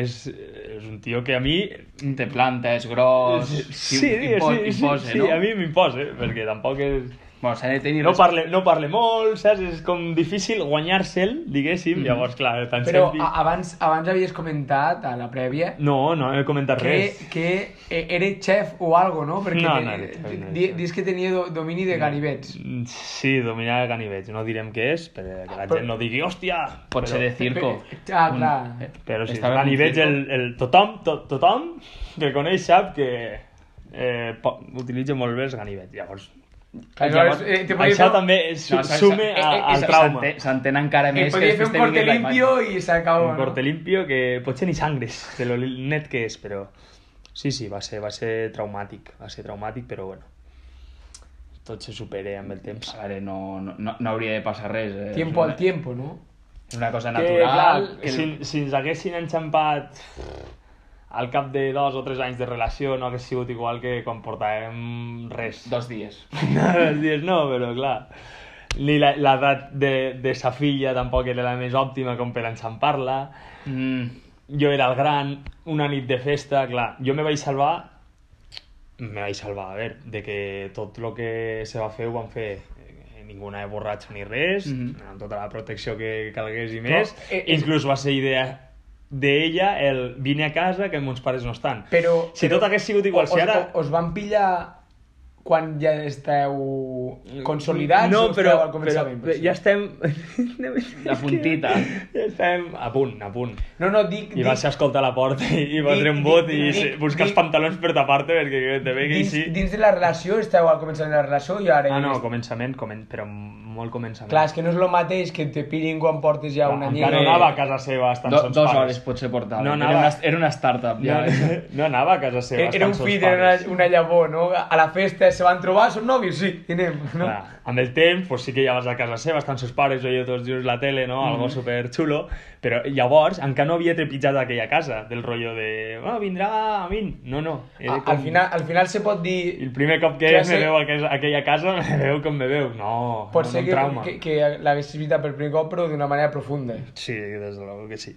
[SPEAKER 4] és, és un tio que a mi...
[SPEAKER 3] Té planta, és gros... impo- imposa,
[SPEAKER 4] sí,
[SPEAKER 3] no?
[SPEAKER 4] a mi m'imposa, eh, perquè tampoc és...
[SPEAKER 3] Bueno, s'ha de tenir...
[SPEAKER 4] No
[SPEAKER 3] res-
[SPEAKER 4] parle, no parle molt, saps? És com difícil guanyar-se'l, diguéssim.
[SPEAKER 3] Mm-hmm.
[SPEAKER 4] Mm. Llavors, clar, tan
[SPEAKER 2] Però
[SPEAKER 4] sentit-
[SPEAKER 2] a, abans, abans havies comentat a la prèvia
[SPEAKER 4] No, no he comentat
[SPEAKER 2] que,
[SPEAKER 4] res.
[SPEAKER 2] que eh, eres chef o algo, no? Perquè
[SPEAKER 4] No,
[SPEAKER 2] te-
[SPEAKER 4] no era chef, no era
[SPEAKER 2] di-
[SPEAKER 4] chef.
[SPEAKER 2] dius que tenia do, domini de ganivets.
[SPEAKER 4] Mm, Sí, dominar ganivets. No direm què és, perquè la
[SPEAKER 2] però-
[SPEAKER 4] gent no digui, hòstia!
[SPEAKER 3] Pot ser de circo.
[SPEAKER 2] Ah,
[SPEAKER 3] Un-
[SPEAKER 2] clar.
[SPEAKER 4] Però si
[SPEAKER 3] Estava
[SPEAKER 4] Estava ni
[SPEAKER 3] en un
[SPEAKER 4] veig
[SPEAKER 3] circo.
[SPEAKER 4] el, el tothom, to, tothom que el coneix sap que eh, po- utilitza molt bé els ganivets. Llavors,
[SPEAKER 2] Llavors, eh, te podria
[SPEAKER 4] això
[SPEAKER 2] fer-
[SPEAKER 4] també es,
[SPEAKER 3] No,
[SPEAKER 4] no,
[SPEAKER 3] s'ha-
[SPEAKER 4] sume
[SPEAKER 2] s'ha-
[SPEAKER 4] a,
[SPEAKER 2] eh, eh,
[SPEAKER 4] al
[SPEAKER 2] s'ha-
[SPEAKER 4] trauma.
[SPEAKER 3] s'entén- S'entén encara
[SPEAKER 2] Eh,
[SPEAKER 3] més... que
[SPEAKER 2] podria fer
[SPEAKER 3] després
[SPEAKER 2] un
[SPEAKER 3] te
[SPEAKER 2] corte
[SPEAKER 3] vingui la
[SPEAKER 2] limpio i s'acabó,
[SPEAKER 4] Un
[SPEAKER 2] no?
[SPEAKER 4] corte limpio que potser ni sangres de lo net que és, però... Sí, sí, va ser, va ser traumàtic, va ser traumàtic, però bueno. Tot se supera amb el temps.
[SPEAKER 3] imatge. A veure, no, no, no- no hauria de passar res. Eh?
[SPEAKER 2] Tiempo
[SPEAKER 3] És
[SPEAKER 2] al
[SPEAKER 3] una-
[SPEAKER 2] tiempo, no?
[SPEAKER 3] És una cosa
[SPEAKER 4] que,
[SPEAKER 3] natural.
[SPEAKER 4] clar, si, si ens haguessin enxampat al cap de dos o tres anys de relació no hagués sigut igual que quan portàvem res.
[SPEAKER 3] Dos dies.
[SPEAKER 4] No, dos dies no, però clar. Ni la- l'edat de, de sa filla tampoc era la més òptima com per enxampar-la.
[SPEAKER 3] Mm.
[SPEAKER 4] Jo era el gran, una nit de festa, clar. Jo me vaig salvar me vaig salvar, a veure, de que tot el que se va fer ho van fer eh, ningú anava borratxo ni res, mm
[SPEAKER 3] Mhm.
[SPEAKER 4] -hmm. amb tota la protecció que calgués i més.
[SPEAKER 2] eh,
[SPEAKER 4] Inclús va ser idea d'ella el vine a casa que meus pares no estan.
[SPEAKER 2] Però-
[SPEAKER 4] si
[SPEAKER 2] però-
[SPEAKER 4] tot hagués sigut igual,
[SPEAKER 2] Os,
[SPEAKER 4] si ara...
[SPEAKER 2] os van pillar quan ja esteu consolidats o
[SPEAKER 4] no,
[SPEAKER 2] esteu
[SPEAKER 4] però,
[SPEAKER 2] al començament?
[SPEAKER 4] però
[SPEAKER 2] potser?
[SPEAKER 4] ja estem...
[SPEAKER 3] La puntita.
[SPEAKER 4] Ja estem a punt, a punt.
[SPEAKER 2] No, no, dic...
[SPEAKER 4] I vas a
[SPEAKER 2] dic-
[SPEAKER 4] escoltar la porta i, i va
[SPEAKER 2] Dic,
[SPEAKER 4] treure un bot
[SPEAKER 2] dic,
[SPEAKER 4] i
[SPEAKER 2] dic,
[SPEAKER 4] se-
[SPEAKER 2] dic,
[SPEAKER 4] buscar els
[SPEAKER 2] dic.
[SPEAKER 4] pantalons per tapar-te perquè te ve que
[SPEAKER 2] dins,
[SPEAKER 4] així...
[SPEAKER 2] dins de la relació esteu al començament de la relació i ara...
[SPEAKER 4] Ah, no,
[SPEAKER 2] és-
[SPEAKER 4] començament, comen... però molt començament.
[SPEAKER 2] Clar, és que no és el mateix que te pillin quan portes ja un any.
[SPEAKER 4] Encara
[SPEAKER 3] Eh,
[SPEAKER 4] no anava a casa seva estant
[SPEAKER 3] Do,
[SPEAKER 4] sons
[SPEAKER 3] dos
[SPEAKER 4] pares.
[SPEAKER 3] hores potser portava.
[SPEAKER 4] No
[SPEAKER 3] era,
[SPEAKER 4] anava.
[SPEAKER 3] una, era una startup,
[SPEAKER 4] No,
[SPEAKER 3] ja.
[SPEAKER 4] no, no anava a casa seva
[SPEAKER 2] Era un
[SPEAKER 4] estant
[SPEAKER 2] fill,
[SPEAKER 4] sons
[SPEAKER 2] era
[SPEAKER 4] pares.
[SPEAKER 2] una, una llavor, no? A la festa se van trobar, són nòvios, sí, i anem, no?
[SPEAKER 4] Clar, amb el temps, pues sí que ja vas a casa seva, estan seus pares, oye tots junts la tele, no? Algo
[SPEAKER 2] Mm-hmm.
[SPEAKER 4] super xulo, però llavors encara no havia trepitjat aquella casa, del rollo de, oh, vindrà a mi. No, no. era
[SPEAKER 2] A-
[SPEAKER 4] com-
[SPEAKER 2] al, final, al final se pot
[SPEAKER 4] El
[SPEAKER 2] dir...
[SPEAKER 4] primer cop que
[SPEAKER 2] Classe-
[SPEAKER 4] me veu a aquella- aquella casa, <laughs> me veu com me veu. No,
[SPEAKER 2] Pot
[SPEAKER 4] no,
[SPEAKER 2] ser
[SPEAKER 4] no,
[SPEAKER 2] que,
[SPEAKER 4] trauma.
[SPEAKER 2] que, que l'haguessis vist per primer cop, però d'una manera profunda.
[SPEAKER 4] Sí, des de luego que sí.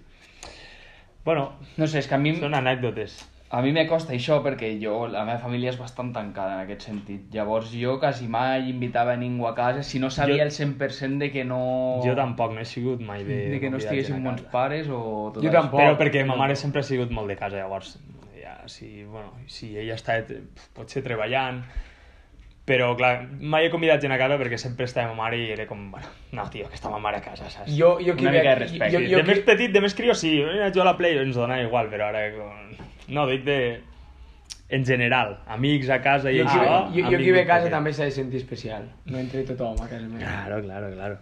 [SPEAKER 4] Bueno,
[SPEAKER 3] no sé, és que a mi,
[SPEAKER 4] són anècdotes.
[SPEAKER 3] a mi me costa això perquè jo, la meva família és bastant tancada en aquest sentit. Llavors jo quasi mai invitava a ningú a casa si no
[SPEAKER 4] Jo-
[SPEAKER 3] sabia el 100% de que no...
[SPEAKER 2] Oh.
[SPEAKER 4] Jo tampoc no he sigut mai de...
[SPEAKER 3] De que
[SPEAKER 4] convidar gent a
[SPEAKER 3] no estiguessin bons
[SPEAKER 4] casa.
[SPEAKER 3] pares o... Tot
[SPEAKER 2] Jo
[SPEAKER 3] això.
[SPEAKER 2] tampoc.
[SPEAKER 4] Però perquè ma mare sempre ha sigut molt de casa, llavors, ja, si, bueno, si ella està eh, potser treballant, però clar, mai he convidat gent a casa perquè sempre estava ma mare i era com, bueno, no, tio, que està ma mare a casa, saps?
[SPEAKER 2] Jo, jo que
[SPEAKER 3] Una
[SPEAKER 2] ve
[SPEAKER 3] mica de
[SPEAKER 2] aquí-
[SPEAKER 3] respecte.
[SPEAKER 2] Jo,
[SPEAKER 4] Sí,
[SPEAKER 2] jo
[SPEAKER 4] de
[SPEAKER 2] que-
[SPEAKER 4] més petit, de més crió, sí, eh, jo a la Play ens donava igual, però ara... com- No, dic de... En general, amics a casa i
[SPEAKER 2] jo,
[SPEAKER 4] això...
[SPEAKER 2] ah, jo, jo
[SPEAKER 4] amic
[SPEAKER 2] que ve
[SPEAKER 4] d'un
[SPEAKER 2] a casa
[SPEAKER 4] petit.
[SPEAKER 2] també s'ha de sentir especial. No entre tothom a casa meva.
[SPEAKER 4] Claro, claro, claro.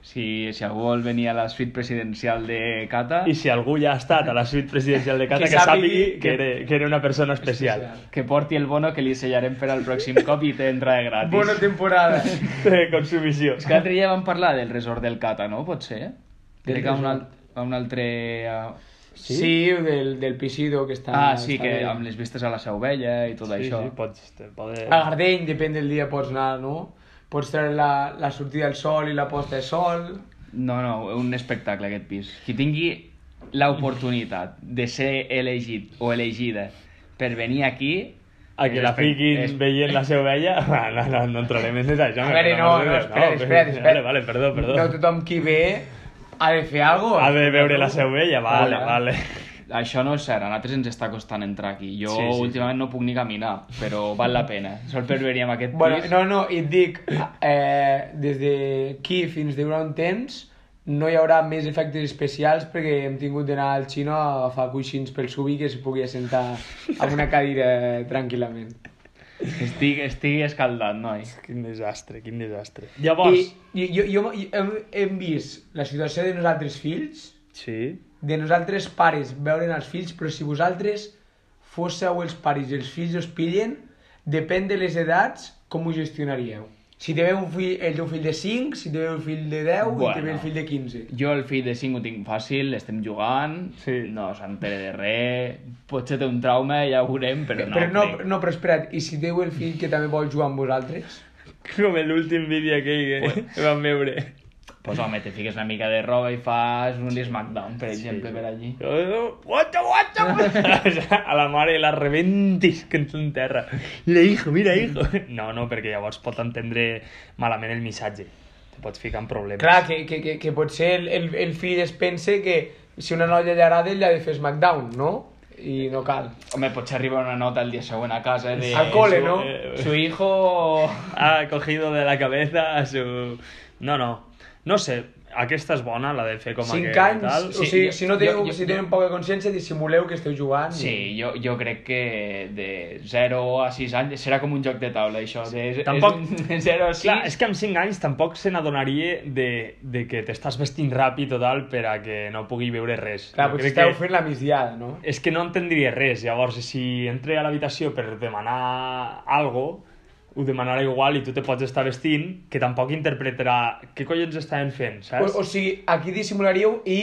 [SPEAKER 3] Si, si algú vol venir a la suite presidencial de Cata,
[SPEAKER 4] I si algú ja ha estat a la suite presidencial de casa,
[SPEAKER 2] Que
[SPEAKER 4] que, sàpigui
[SPEAKER 2] sàpigui
[SPEAKER 4] que,
[SPEAKER 2] que-
[SPEAKER 4] era, que era una persona especial. especial.
[SPEAKER 3] que porti el bono que li sellarem per al pròxim cop i t'entra de gratis.
[SPEAKER 2] Bona temporada.
[SPEAKER 4] <laughs> de consumició.
[SPEAKER 3] És que l'altre dia vam parlar del resort del Cata, no? Potser? Crec que a un,
[SPEAKER 2] resort?
[SPEAKER 3] alt, a un altre... eh,
[SPEAKER 2] Sí, del, del Pisido que està...
[SPEAKER 3] Ah, sí,
[SPEAKER 2] està
[SPEAKER 3] que
[SPEAKER 2] bé.
[SPEAKER 3] amb les vistes a la Seu Vella i tot
[SPEAKER 4] Sí,
[SPEAKER 3] això.
[SPEAKER 4] sí, pots, te- poder...
[SPEAKER 2] A Gardeny, depèn del dia, pots anar, no? Pots treure la, la sortida del sol i la posta de sol.
[SPEAKER 3] No, no, un espectacle aquest pis. Qui tingui l'oportunitat de ser elegit o elegida per venir aquí...
[SPEAKER 4] A que la
[SPEAKER 3] és espe-
[SPEAKER 4] fiquin
[SPEAKER 3] és-
[SPEAKER 4] veient la seva vella... <laughs> Va, No, no, no entrarem en detall.
[SPEAKER 2] A veure, no, no, espera, espera, espera.
[SPEAKER 4] Vale, vale, perdó, perdó.
[SPEAKER 2] No tothom qui ve ha de fer alguna cosa.
[SPEAKER 4] Ha de veure la seva vella, vale,
[SPEAKER 3] Hola.
[SPEAKER 4] vale. <laughs>
[SPEAKER 3] Això no és cert, a nosaltres ens està costant entrar aquí. Jo
[SPEAKER 4] Sí, sí,
[SPEAKER 3] últimament no puc ni caminar, però val la pena. Sol per venir amb aquest
[SPEAKER 2] Bueno,
[SPEAKER 3] pis...
[SPEAKER 2] no, no, i et dic, eh, des d'aquí fins durant un temps no hi haurà més efectes especials perquè hem tingut d'anar al xino a agafar coixins pel subi que es pugui assentar en una cadira tranquil·lament.
[SPEAKER 3] Estic, estic escaldat, noi.
[SPEAKER 4] Quin desastre, quin desastre.
[SPEAKER 2] I,
[SPEAKER 4] Llavors...
[SPEAKER 2] i jo, jo, jo hem, hem vist la situació de nosaltres fills,
[SPEAKER 4] Sí.
[SPEAKER 2] de nosaltres pares veuren els fills, però si vosaltres fósseu els pares i els fills us pillen, depèn de les edats, com ho gestionaríeu? Si té un fill, el teu fill de 5, si té un fill de 10 bueno. i té
[SPEAKER 3] Bueno.
[SPEAKER 2] el fill de 15.
[SPEAKER 3] Jo el fill de 5 ho tinc fàcil, estem jugant,
[SPEAKER 4] Sí.
[SPEAKER 3] no s'entera de res, potser té un trauma, ja ho veurem, però no.
[SPEAKER 2] però no,
[SPEAKER 3] crec.
[SPEAKER 2] no, però espera't, i si té el fill que també vol jugar amb vosaltres?
[SPEAKER 4] Com l'últim vídeo aquell que que <laughs> vam veure.
[SPEAKER 3] Pues home, te fiques una mica de roba i fas un SmackDown, per exemple, per allí.
[SPEAKER 4] Guacha,
[SPEAKER 2] <laughs>
[SPEAKER 4] guacha! A la mare la rebentis que ens enterra. Le hijo, mira, hijo. No, no, perquè llavors pot entendre malament el missatge. Te pots ficar en problemes.
[SPEAKER 2] Clar, que, que, que, que potser el, el, el fill es pense que si una noia li agrada, ell ha de fer SmackDown, no? I no cal.
[SPEAKER 3] Home, potser arriba una nota el dia següent a casa de...
[SPEAKER 2] Al cole, no?
[SPEAKER 3] Su, su hijo...
[SPEAKER 4] ha cogido de la cabeza a su... No, no. No sé, aquesta és bona, la de fer com
[SPEAKER 2] 5
[SPEAKER 4] que
[SPEAKER 2] anys,
[SPEAKER 4] tal.
[SPEAKER 2] o
[SPEAKER 3] Sí,
[SPEAKER 2] sigui,
[SPEAKER 3] jo-
[SPEAKER 2] si no teniu,
[SPEAKER 3] jo- jo-
[SPEAKER 2] si teniu poca consciència, dissimuleu que esteu jugant. i-
[SPEAKER 3] Sí, jo, jo crec que de 0 a 6 anys serà com un joc de taula, això. De,
[SPEAKER 4] Tampoc-
[SPEAKER 3] És, de 0 a 6...
[SPEAKER 4] Clar, és que amb 5 anys tampoc se n'adonaria de, de que t'estàs vestint ràpid o tal per a que no pugui veure res.
[SPEAKER 2] Clar,
[SPEAKER 4] Jo
[SPEAKER 2] potser
[SPEAKER 4] crec
[SPEAKER 2] esteu fent la migdiada, no?
[SPEAKER 4] És que no entendria res, llavors si entré a l'habitació per demanar algo, ho demanarà igual i tu te pots estar vestint, que tampoc interpretarà què collons estaven fent,
[SPEAKER 2] O,
[SPEAKER 4] saps?
[SPEAKER 2] o sigui, aquí dissimularíeu i...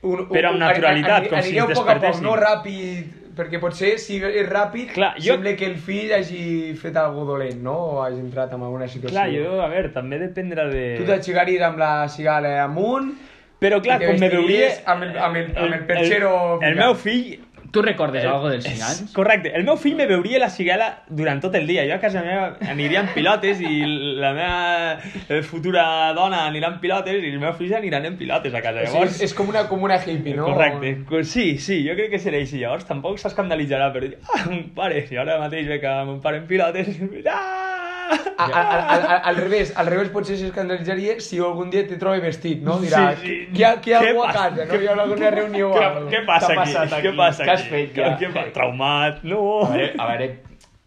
[SPEAKER 2] Un, un,
[SPEAKER 4] Però amb
[SPEAKER 2] un-
[SPEAKER 4] naturalitat,
[SPEAKER 2] ani-
[SPEAKER 4] com si
[SPEAKER 2] anireu
[SPEAKER 4] es
[SPEAKER 2] poc a poc,
[SPEAKER 4] despertessin.
[SPEAKER 2] no ràpid, perquè potser si és ràpid
[SPEAKER 4] Clar, jo-
[SPEAKER 2] sembla que el fill hagi fet alguna dolent, no? O hagi entrat en alguna situació.
[SPEAKER 4] Clar, jo, a veure, també dependrà de...
[SPEAKER 2] Tu t'aixecaries amb la cigala amunt...
[SPEAKER 4] Però clar,
[SPEAKER 2] i te
[SPEAKER 4] com me veuria...
[SPEAKER 2] vestiries amb el- amb el- amb el perchero
[SPEAKER 4] El, el
[SPEAKER 2] ficat.
[SPEAKER 4] meu fill
[SPEAKER 3] Tu recordes alguna cosa dels 5 anys?
[SPEAKER 4] Correcte. El meu fill me veuria la cigala durant tot el dia. Jo a casa meva aniria amb pilotes i la meva eh, futura dona anirà amb pilotes i els meus fills aniran en pilotes a casa.
[SPEAKER 2] O sigui,
[SPEAKER 4] Llavors,
[SPEAKER 2] és, és com una comuna hippie, no?
[SPEAKER 4] Correcte. Co- Sí, sí, jo crec que serà així. Llavors tampoc s'escandalitzarà, però dir, ah, mon pare, si ara mateix ve que mon pare en pilotes... <laughs> Ah!
[SPEAKER 2] A, a, a, a, a- al revés, al revés potser s'escandalitzaria si algun dia te troba vestit, no? Dirà,
[SPEAKER 4] Sí, sí.
[SPEAKER 2] Hi, ha, que hi ha
[SPEAKER 4] Què
[SPEAKER 2] algú a
[SPEAKER 4] passa?
[SPEAKER 2] casa, no? Hi haurà alguna reunió o
[SPEAKER 4] Què,
[SPEAKER 2] alguna cosa.
[SPEAKER 4] què passa
[SPEAKER 2] T'ha
[SPEAKER 4] aquí?
[SPEAKER 2] passat
[SPEAKER 4] Què passa aquí?
[SPEAKER 2] Què has fet, ja?
[SPEAKER 4] Què fa? Traumat? No!
[SPEAKER 3] A veure, a veure,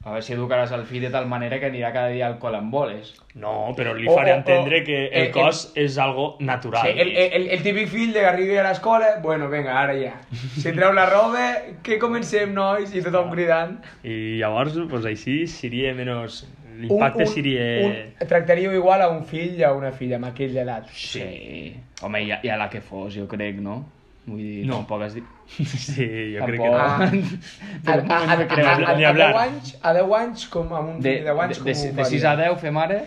[SPEAKER 3] a veure si educaràs el fill de tal manera que anirà cada dia al col amb boles.
[SPEAKER 4] No, però li
[SPEAKER 2] O-
[SPEAKER 4] faré
[SPEAKER 2] o- o-
[SPEAKER 4] entendre que
[SPEAKER 2] eh,
[SPEAKER 4] el
[SPEAKER 2] eh.
[SPEAKER 4] cos és algo natural.
[SPEAKER 2] Sí, el,
[SPEAKER 3] eh,
[SPEAKER 2] el, el típic fill de que arribi a l'escola, bueno, venga, ara ja. Si treu la roba, que comencem, nois? I tothom cridant.
[SPEAKER 4] I llavors, pues, així seria menys...
[SPEAKER 2] Un-
[SPEAKER 4] L'impacte
[SPEAKER 2] un-
[SPEAKER 4] seria...
[SPEAKER 2] Un, tractaríeu igual a un fill i a una filla amb aquella edat.
[SPEAKER 3] Sí. Home, i a, i a la que fos, jo crec, no? Vull dir,
[SPEAKER 4] No.
[SPEAKER 3] tampoc has dit...
[SPEAKER 4] <laughs> Sí, jo crec que...
[SPEAKER 3] Tampoc.
[SPEAKER 4] no.
[SPEAKER 3] <laughs> De
[SPEAKER 2] Ah. A, a,
[SPEAKER 3] moment
[SPEAKER 2] a,
[SPEAKER 3] no
[SPEAKER 2] a,
[SPEAKER 3] creu.
[SPEAKER 2] a, a,
[SPEAKER 4] Ni
[SPEAKER 2] a,
[SPEAKER 4] hablar.
[SPEAKER 2] 10 anys, a 10 anys, com amb un
[SPEAKER 3] De,
[SPEAKER 2] fill de 10
[SPEAKER 3] de,
[SPEAKER 2] anys,
[SPEAKER 3] de,
[SPEAKER 2] com
[SPEAKER 3] de 6 a 10 fem ara?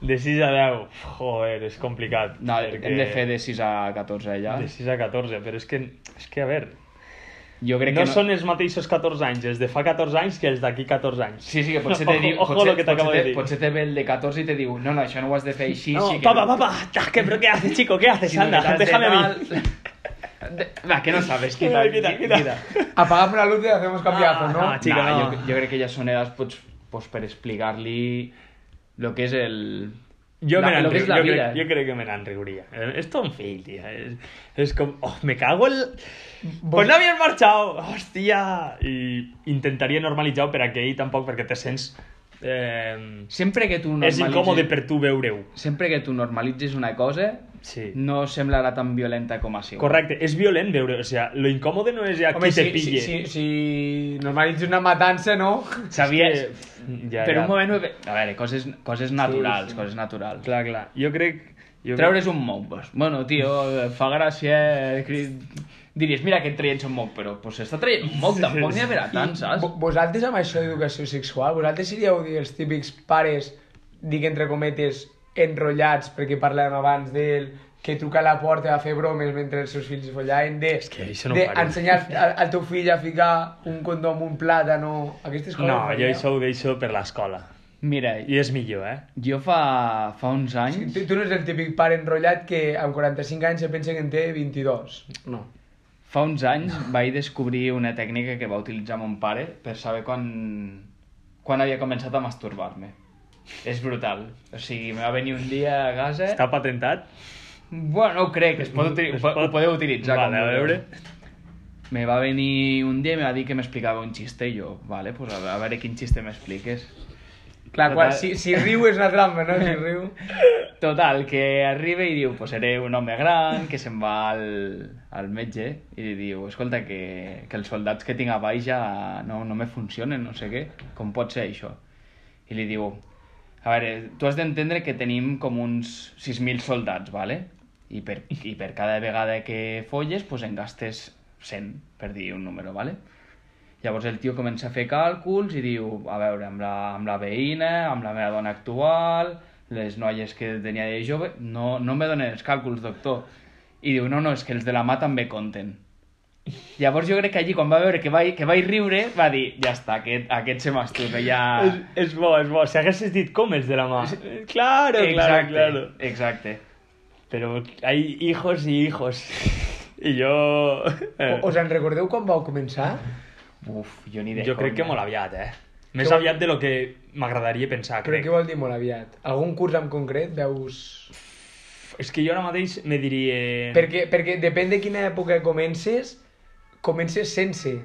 [SPEAKER 4] De 6 a 10, joder, és complicat.
[SPEAKER 3] No, hem de fer de 6 a 14 ja.
[SPEAKER 4] De 6 a 14, però és que, és que a veure,
[SPEAKER 3] Jo crec
[SPEAKER 4] no,
[SPEAKER 3] que no...
[SPEAKER 4] són els mateixos 14 anys, els de fa 14 anys que els d'aquí 14 anys.
[SPEAKER 3] Sí, sí, que potser te diu...
[SPEAKER 4] <laughs> Ojo, ojo
[SPEAKER 3] potser,
[SPEAKER 4] lo que t'acabo de
[SPEAKER 3] potser,
[SPEAKER 4] dir.
[SPEAKER 3] te- potser te ve el de 14 i te diu, no, no, això no ho has de fer així.
[SPEAKER 4] No,
[SPEAKER 3] sí que...
[SPEAKER 4] papá, papá, ah, <laughs> ¿qué, pero ¿qué haces, chico? ¿Qué haces?
[SPEAKER 3] Si no
[SPEAKER 4] Anda,
[SPEAKER 3] me das de
[SPEAKER 4] déjame a mí.
[SPEAKER 3] tal- <laughs> De- Va, que no sabes, quita,
[SPEAKER 4] Ay, quita, quita.
[SPEAKER 2] Apagamos la luz y hacemos cambiazo,
[SPEAKER 4] Ah,
[SPEAKER 2] ¿no?
[SPEAKER 4] ah, Chica,
[SPEAKER 3] Nah,
[SPEAKER 4] no.
[SPEAKER 3] jo, jo crec que ja són edats pues, pues, per explicar-li lo que és el...
[SPEAKER 4] Yo
[SPEAKER 3] la,
[SPEAKER 4] me
[SPEAKER 3] lo que
[SPEAKER 4] enri-
[SPEAKER 3] és
[SPEAKER 4] yo,
[SPEAKER 3] la
[SPEAKER 4] creo,
[SPEAKER 3] vida.
[SPEAKER 4] yo creo que me la enriuría. Eh, Esto es un fail, tío. Es, es como, oh, me cago el... Pues no habías marchado, hostia. I intentaria normalitzar-ho per a que ell tampoc, perquè te sents... Eh,
[SPEAKER 3] Sempre que tu
[SPEAKER 4] és
[SPEAKER 3] normalitzis...
[SPEAKER 4] incòmode per tu veure-ho.
[SPEAKER 3] Sempre que tu normalitzis una cosa,
[SPEAKER 4] Sí.
[SPEAKER 3] no semblarà tan violenta com ha sigut.
[SPEAKER 4] Correcte, és violent veure, o sea, lo incòmode no és ja
[SPEAKER 2] Home,
[SPEAKER 4] qui te
[SPEAKER 2] si, si,
[SPEAKER 4] pille.
[SPEAKER 2] si, si normalitzes una matança, no?
[SPEAKER 3] Sabies...
[SPEAKER 4] Ja,
[SPEAKER 3] per
[SPEAKER 4] ja.
[SPEAKER 3] un moment... ho he- A veure, coses, coses naturals, sí, sí. coses naturals.
[SPEAKER 4] Clar, clar, jo crec... Jo
[SPEAKER 3] Treure's un mompos. Bueno, tio, fa gràcia... eh, cri- Diries, mira que et traient un moc, però pues, s'està traient un moc, tampoc n'hi haurà tant, saps?
[SPEAKER 2] Vo- Vosaltres amb això d'educació sexual, vosaltres seríeu els típics pares, dic entre cometes, enrotllats, perquè parlàvem abans del que truca a la porta a fer bromes mentre els seus fills follaven, de,
[SPEAKER 4] És que això no ho
[SPEAKER 2] de
[SPEAKER 4] faria.
[SPEAKER 2] ensenyar al, al teu fill a ficar un condó amb un plàtano, aquestes coses.
[SPEAKER 4] No, jo
[SPEAKER 2] faríeu?
[SPEAKER 4] això ho deixo per l'escola.
[SPEAKER 3] Mira,
[SPEAKER 4] I és millor, eh?
[SPEAKER 3] jo fa, fa uns
[SPEAKER 2] Sí,
[SPEAKER 3] anys...
[SPEAKER 2] Tu, tu no ets el típic pare enrotllat que amb 45 anys se pensa que en té 22. No.
[SPEAKER 3] Fa uns anys vaig descobrir una tècnica que va utilitzar mon pare per saber quan, quan havia començat a masturbar-me. És brutal. O sigui, me va venir un dia a casa...
[SPEAKER 4] Està patentat?
[SPEAKER 3] Bueno, no ho crec, es pot, uti- ho, po- ho podeu utilitzar.
[SPEAKER 4] Vale,
[SPEAKER 3] com
[SPEAKER 4] a
[SPEAKER 3] vulgueu.
[SPEAKER 4] veure.
[SPEAKER 3] Me va venir un dia i me va dir que m'explicava un xiste i jo, vale, pues a, ve- a veure quin xiste m'expliques.
[SPEAKER 2] Clar,
[SPEAKER 3] Total.
[SPEAKER 2] quan, si, si riu és una trampa, no? Si riu...
[SPEAKER 3] Total, que arriba i diu, pues seré un home gran, que se'n va al, al metge i li diu, escolta, que, que els soldats que tinc a baix ja no, no me funcionen, no sé què, com pot ser això? I li diu, a veure, tu has d'entendre que tenim com uns 6.000 soldats, vale? I per, I per cada vegada que folles, pues en gastes 100, per dir un número, vale? Llavors el tio comença a fer càlculs i diu, a veure, amb la, amb la veïna, amb la meva dona actual, les noies que tenia de jove, no, no me donen els càlculs, doctor. I diu, no, no, és que els de la mà també compten. Llavors jo crec que allí, quan va veure que vaig, que vaig riure, va dir, ja està, aquest, aquest se masturba, ja...
[SPEAKER 4] És, és bo, és bo. Si haguessis dit com és de la mà. Claro, claro, claro.
[SPEAKER 3] exacte.
[SPEAKER 4] Però hay hijos i hijos. I jo... Eh,
[SPEAKER 2] O- Us en recordeu quan vau començar?
[SPEAKER 3] Uf, jo ni de
[SPEAKER 4] jo crec que molt
[SPEAKER 3] mola.
[SPEAKER 4] aviat, eh? Més
[SPEAKER 2] Que-
[SPEAKER 4] aviat de lo que m'agradaria pensar,
[SPEAKER 2] Però
[SPEAKER 4] crec.
[SPEAKER 2] què vol dir molt aviat? Algun curs en concret veus...
[SPEAKER 4] És que jo ara mateix me diria...
[SPEAKER 2] Perquè, perquè depèn de quina època comences, comences sense.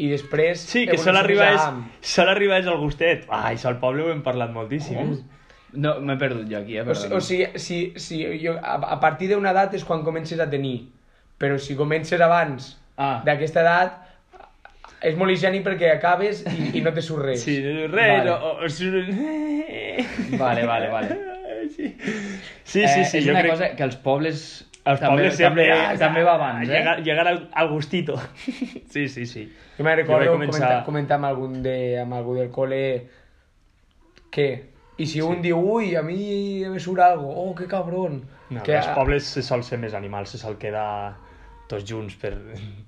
[SPEAKER 2] I després...
[SPEAKER 4] Sí, que sol
[SPEAKER 2] evoluciones
[SPEAKER 4] arribar, és,
[SPEAKER 2] amb.
[SPEAKER 4] sol arribar és el gustet. Ai, això al poble ho hem parlat moltíssim.
[SPEAKER 3] Oh,
[SPEAKER 4] eh?
[SPEAKER 3] No, m'he perdut jo aquí, eh,
[SPEAKER 2] O, si-
[SPEAKER 3] perdona.
[SPEAKER 2] o sigui, si, si jo, a, a partir d'una edat és quan comences a tenir. Però si comences abans
[SPEAKER 3] Ah.
[SPEAKER 2] d'aquesta edat, és molt higiènic perquè acabes i, i no te surt res.
[SPEAKER 4] Sí, res, vale.
[SPEAKER 3] Vale.
[SPEAKER 4] o, o, surt-
[SPEAKER 3] Vale, vale, vale.
[SPEAKER 4] Sí, sí, sí, sí
[SPEAKER 3] eh, és
[SPEAKER 4] jo
[SPEAKER 3] una
[SPEAKER 4] crec...
[SPEAKER 3] cosa que els pobles...
[SPEAKER 4] Els pobles sempre...
[SPEAKER 3] També, també va abans, eh?
[SPEAKER 4] Llegar, llegar al, al
[SPEAKER 3] <laughs>
[SPEAKER 4] gustito. Sí, sí, sí.
[SPEAKER 2] Jo me'n recordo
[SPEAKER 4] Jo vaig
[SPEAKER 2] començar...
[SPEAKER 4] començar-
[SPEAKER 2] comentar, comentar amb, algun de, amb algú del col·le què? I si sí. un diu, ui, a mi em surt algo, oh, que cabron.
[SPEAKER 4] No,
[SPEAKER 2] que,
[SPEAKER 4] que... Els pobles se sol ser més animals, se sol quedar... tots junts per,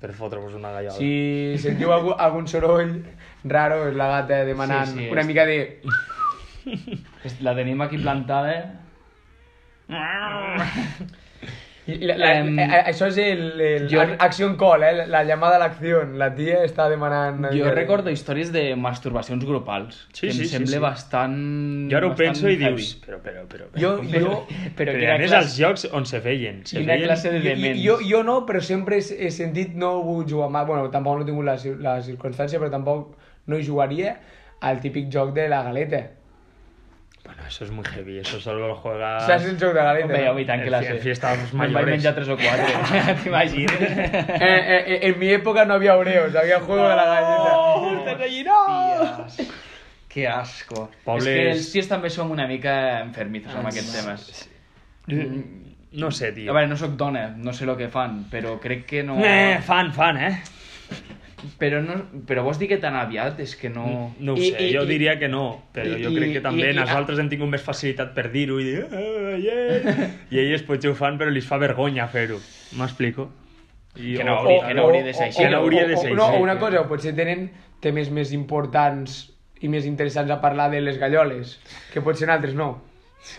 [SPEAKER 4] per fotre-vos una gallada.
[SPEAKER 2] Si sentiu algú, algun soroll raro, és la gata demanant
[SPEAKER 3] Sí, sí,
[SPEAKER 2] una
[SPEAKER 3] és-
[SPEAKER 2] mica de...
[SPEAKER 3] És- La tenim aquí plantada. eh?
[SPEAKER 2] La, la,
[SPEAKER 3] Em,
[SPEAKER 2] eh, això és el, el
[SPEAKER 3] jo-
[SPEAKER 2] ac- action call, eh? la llamada a l'acció. La tia està demanant... una
[SPEAKER 3] Jo
[SPEAKER 2] mica de-
[SPEAKER 3] recordo històries de masturbacions grupals,
[SPEAKER 4] Sí,
[SPEAKER 3] que em
[SPEAKER 4] sí, sí,
[SPEAKER 3] sembla
[SPEAKER 4] sí.
[SPEAKER 3] bastant...
[SPEAKER 4] Jo ara ho
[SPEAKER 3] bastant
[SPEAKER 4] penso i
[SPEAKER 3] heavy.
[SPEAKER 4] dius... Però, però, però... però.
[SPEAKER 2] <laughs> Jo,
[SPEAKER 3] Però,
[SPEAKER 2] jo,
[SPEAKER 4] Però
[SPEAKER 3] quina
[SPEAKER 4] a més
[SPEAKER 3] classe-
[SPEAKER 4] als jocs on se feien. Se
[SPEAKER 3] Quina
[SPEAKER 4] feien...
[SPEAKER 3] classe de
[SPEAKER 2] jo,
[SPEAKER 3] dements.
[SPEAKER 2] jo, jo no, però sempre he, he sentit, no he volgut jugar mai, bueno, tampoc no he tingut la, cir- la circumstància, però tampoc no hi jugaria al típic joc de la galeta.
[SPEAKER 4] Bueno, eso es muy heavy, eso solo lo juega...
[SPEAKER 3] Ah.
[SPEAKER 2] Saps el joc de la galeta?
[SPEAKER 3] Home,
[SPEAKER 2] no?
[SPEAKER 3] home, i tant que
[SPEAKER 4] En
[SPEAKER 3] la
[SPEAKER 4] fi-
[SPEAKER 3] sé.
[SPEAKER 4] en fiestas
[SPEAKER 3] Me'n
[SPEAKER 4] mayores.
[SPEAKER 3] vaig menjar tres
[SPEAKER 4] <laughs>
[SPEAKER 3] o quatre, t'imagines?
[SPEAKER 2] Eh, eh, eh, en mi época no había oreos, había juego de la galleta.
[SPEAKER 3] Hòsties, que asco.
[SPEAKER 4] Pobles- Ah,
[SPEAKER 3] És que els ties també som una mica enfermizos amb aquests temes. <laughs>
[SPEAKER 4] No sé,
[SPEAKER 3] A
[SPEAKER 4] tio.
[SPEAKER 3] veure, no sóc dona, no sé el que fan, però crec que no...
[SPEAKER 4] Eh, fan, fan, eh?
[SPEAKER 3] Però, no, però vols dir que tan aviat? És que no...
[SPEAKER 4] Mm, No ho
[SPEAKER 2] I-
[SPEAKER 4] sé,
[SPEAKER 2] i-
[SPEAKER 4] jo
[SPEAKER 2] i-
[SPEAKER 4] diria que no, però
[SPEAKER 2] i-
[SPEAKER 4] jo crec
[SPEAKER 2] i-
[SPEAKER 4] que també
[SPEAKER 2] i- i-
[SPEAKER 4] nosaltres hem tingut més facilitat per dir-ho i dir... "Ah, yeah". I ells potser ho fan, però li fa vergonya fer-ho. M'explico? I-
[SPEAKER 3] Que no
[SPEAKER 4] o-
[SPEAKER 3] hauria-
[SPEAKER 4] o-
[SPEAKER 3] que no hauria de ser
[SPEAKER 2] o-
[SPEAKER 3] així.
[SPEAKER 2] o-
[SPEAKER 4] Que no hauria de
[SPEAKER 2] o-
[SPEAKER 4] ser
[SPEAKER 2] o- No,
[SPEAKER 4] així.
[SPEAKER 2] o una cosa, o potser tenen temes més importants i més interessants a parlar de les galloles, que potser en altres no.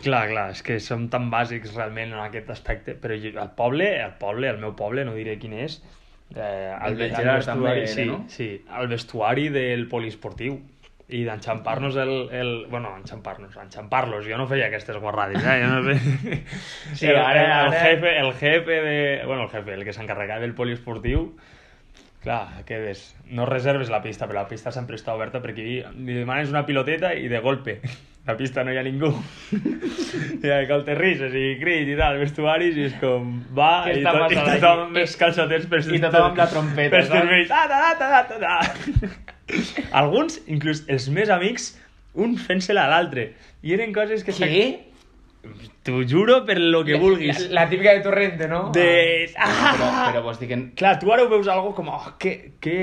[SPEAKER 4] Clar, clar, és que som tan bàsics realment en aquest aspecte, però jo, el poble, el poble, el meu poble, no diré quin és, eh, el,
[SPEAKER 3] del
[SPEAKER 4] el
[SPEAKER 3] Gerard també
[SPEAKER 4] vestuari,
[SPEAKER 3] era,
[SPEAKER 4] sí,
[SPEAKER 3] no?
[SPEAKER 4] sí, el vestuari del poliesportiu i d'enxampar-nos el, el... Bueno, enxampar-nos, enxampar-los, jo no feia aquestes guarrades, eh? Jo no feia...
[SPEAKER 3] <laughs> Sí,
[SPEAKER 4] el,
[SPEAKER 3] ara-
[SPEAKER 4] el,
[SPEAKER 3] ara-
[SPEAKER 4] jefe, el jefe de... Bueno, el jefe, el que s'encarregava del poliesportiu, Clar, quedes. No reserves la pista, però la pista sempre està oberta perquè hi- li demanes una piloteta i de golpe <laughs> la pista no hi ha ningú. <laughs> I de cop te rises i crits i tal, vestuaris i és com va
[SPEAKER 3] Què
[SPEAKER 4] i,
[SPEAKER 3] està
[SPEAKER 4] tot, i
[SPEAKER 3] passant aquí?
[SPEAKER 4] tothom amb els calçotets per
[SPEAKER 3] i tothom amb la trompeta,
[SPEAKER 4] Per
[SPEAKER 3] saps?
[SPEAKER 4] serveis. Ah, ta, ta, ta, ta, ta. Alguns, inclús els més amics, un fent-se-la a l'altre. I eren coses que...
[SPEAKER 3] Què?
[SPEAKER 4] T'ho juro per lo que vulguis.
[SPEAKER 2] La, la típica de Torrente, no?
[SPEAKER 4] De... Ah!
[SPEAKER 3] Però, però vols dir que...
[SPEAKER 4] <laughs> Clar, tu ara ho veus algo com, oh, que, que,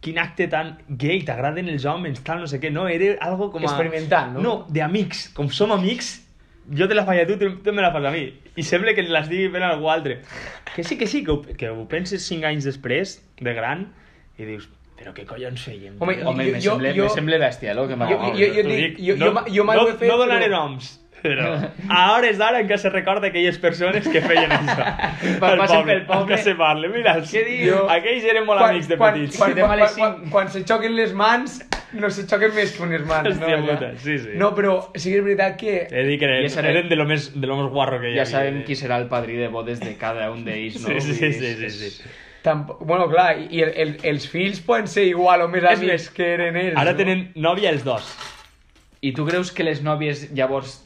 [SPEAKER 4] quin acte tan gay, t'agraden els homes, tal, no sé què. No, era algo com a...
[SPEAKER 2] Experimental, no?
[SPEAKER 4] No, d'amics. Com som amics, jo te la faig a tu, tu, tu me la fas a mi. I sembla que les digui ben a algú altre.
[SPEAKER 2] <laughs>
[SPEAKER 4] Que sí, que sí, que ho, que ho penses cinc anys després, de gran, i dius, però què collons fèiem?
[SPEAKER 2] Home,
[SPEAKER 4] tio?"
[SPEAKER 3] Home, me,
[SPEAKER 2] Jo- jo-
[SPEAKER 3] sembla,
[SPEAKER 2] jo-
[SPEAKER 3] me sembla bèstia, el que m'ha
[SPEAKER 2] jo- jo- jo-
[SPEAKER 4] T'ho
[SPEAKER 2] dic,
[SPEAKER 4] dic,
[SPEAKER 2] jo- jo mai
[SPEAKER 4] no,
[SPEAKER 2] ho he fet,
[SPEAKER 4] No donaré
[SPEAKER 2] però-
[SPEAKER 4] noms, però
[SPEAKER 3] <laughs>
[SPEAKER 4] a hores d'ara encara se recorda aquelles persones que feien això.
[SPEAKER 3] <laughs> Pa-
[SPEAKER 4] Al
[SPEAKER 3] passen pel poble.
[SPEAKER 4] Encara se parla, mira,
[SPEAKER 3] Què dius?
[SPEAKER 4] aquells eren molt amics de
[SPEAKER 2] Ah. quan,
[SPEAKER 4] petits. <laughs>
[SPEAKER 2] Quan,
[SPEAKER 3] Anem a
[SPEAKER 2] quan,
[SPEAKER 3] les
[SPEAKER 2] quan, quan,
[SPEAKER 3] cinc.
[SPEAKER 2] quan se xoquen les mans, no se xoquen més que unes mans.
[SPEAKER 4] Hòstia
[SPEAKER 2] no, Ja.
[SPEAKER 4] puta, sí, Eh. sí.
[SPEAKER 2] No, però sí que és veritat que...
[SPEAKER 4] He dit que eren,
[SPEAKER 3] Ja sabem-
[SPEAKER 4] eren de, lo més, de lo més guarro que hi havia.
[SPEAKER 3] Ja sabem qui serà el padrí de bodes de cada un d'ells,
[SPEAKER 4] <laughs>
[SPEAKER 3] no?
[SPEAKER 4] Sí, sí,
[SPEAKER 3] Vull dir,
[SPEAKER 4] sí, sí,
[SPEAKER 3] és-
[SPEAKER 4] sí.
[SPEAKER 3] és-
[SPEAKER 2] Tampoc, bueno, clar, i el, el, els fills poden ser igual o més
[SPEAKER 4] És
[SPEAKER 2] amics
[SPEAKER 4] més,
[SPEAKER 2] que eren ells.
[SPEAKER 4] Ara
[SPEAKER 2] no?
[SPEAKER 4] tenen nòvia els dos.
[SPEAKER 3] I tu creus que les nòvies llavors...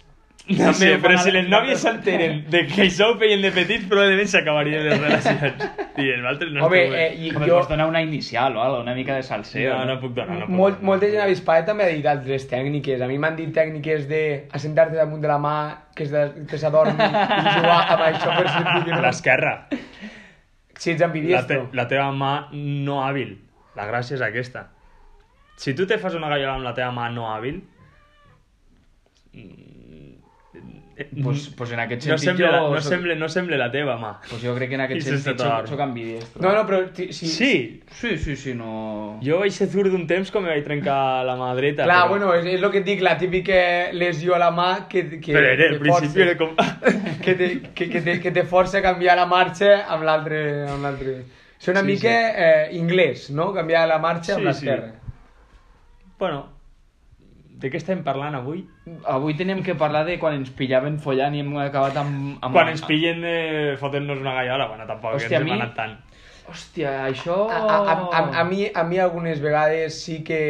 [SPEAKER 4] No
[SPEAKER 3] també
[SPEAKER 4] sé,
[SPEAKER 3] fan
[SPEAKER 4] però
[SPEAKER 3] a-
[SPEAKER 4] si les nòvies s'enteren de que això ho feien de petits, probablement s'acabarien les <laughs> relacions. I els altres no
[SPEAKER 2] Home,
[SPEAKER 4] estan bé.
[SPEAKER 2] eh, i
[SPEAKER 3] Home,
[SPEAKER 2] jo,
[SPEAKER 3] pots donar una inicial o algo, una mica de salseo.
[SPEAKER 4] no, no puc donar. No puc
[SPEAKER 2] Molt,
[SPEAKER 4] donar.
[SPEAKER 2] molta gent a Bispaet també ha dit altres tècniques. A mi m'han dit tècniques de assentar-te damunt de la mà, que es de- que s'adormi, i jugar amb això per
[SPEAKER 4] <laughs>
[SPEAKER 2] sentir
[SPEAKER 4] <laughs>
[SPEAKER 2] que
[SPEAKER 4] A
[SPEAKER 2] no.
[SPEAKER 4] l'esquerra.
[SPEAKER 2] Si ets
[SPEAKER 4] la, te
[SPEAKER 2] ambidiestro.
[SPEAKER 4] la teva mà no hàbil. La gràcia és aquesta. Si tu te fas una gallola amb la teva mà no hàbil... mm,
[SPEAKER 3] Pues, pues en aquest
[SPEAKER 4] no,
[SPEAKER 3] sentit
[SPEAKER 4] sembla, la-
[SPEAKER 3] jo...
[SPEAKER 4] no,
[SPEAKER 3] soc-
[SPEAKER 4] sembla, no sembla la teva mà.
[SPEAKER 3] Pues jo crec que en
[SPEAKER 4] I
[SPEAKER 3] aquest
[SPEAKER 4] sense
[SPEAKER 3] sentit
[SPEAKER 4] adorar-ho.
[SPEAKER 3] soc, soc ambidiestro.
[SPEAKER 2] No, no, però... ti- Si,
[SPEAKER 4] Sí,
[SPEAKER 3] Sí, sí, sí, no...
[SPEAKER 4] jo vaig ser zurd d'un temps com me vaig trencar la mà dreta.
[SPEAKER 2] Clar, bueno, és, és el que et dic, la típica lesió a la mà que... que
[SPEAKER 4] Però era, al
[SPEAKER 2] que
[SPEAKER 4] principi
[SPEAKER 2] força-
[SPEAKER 4] era com...
[SPEAKER 2] <laughs>
[SPEAKER 4] <laughs>
[SPEAKER 2] Que te, que, que, te, que te força a canviar la marxa amb l'altre... amb l'altre. És una
[SPEAKER 4] Sí,
[SPEAKER 2] mica eh, inglès, no? Canviar la marxa amb
[SPEAKER 4] Sí,
[SPEAKER 2] l'esquerra.
[SPEAKER 4] bueno, de què estem parlant avui?
[SPEAKER 3] Avui teníem que parlar de quan ens pillaven follant i hem acabat amb... amb
[SPEAKER 4] Quan ens pillen eh, fotent-nos una gallola, bueno, tampoc Hòstia, ens
[SPEAKER 3] Hòstia, a mi-
[SPEAKER 4] hem anat tant.
[SPEAKER 3] Hòstia, això...
[SPEAKER 2] A, a, a, a,
[SPEAKER 3] Oh.
[SPEAKER 2] a, mi, a mi algunes vegades sí que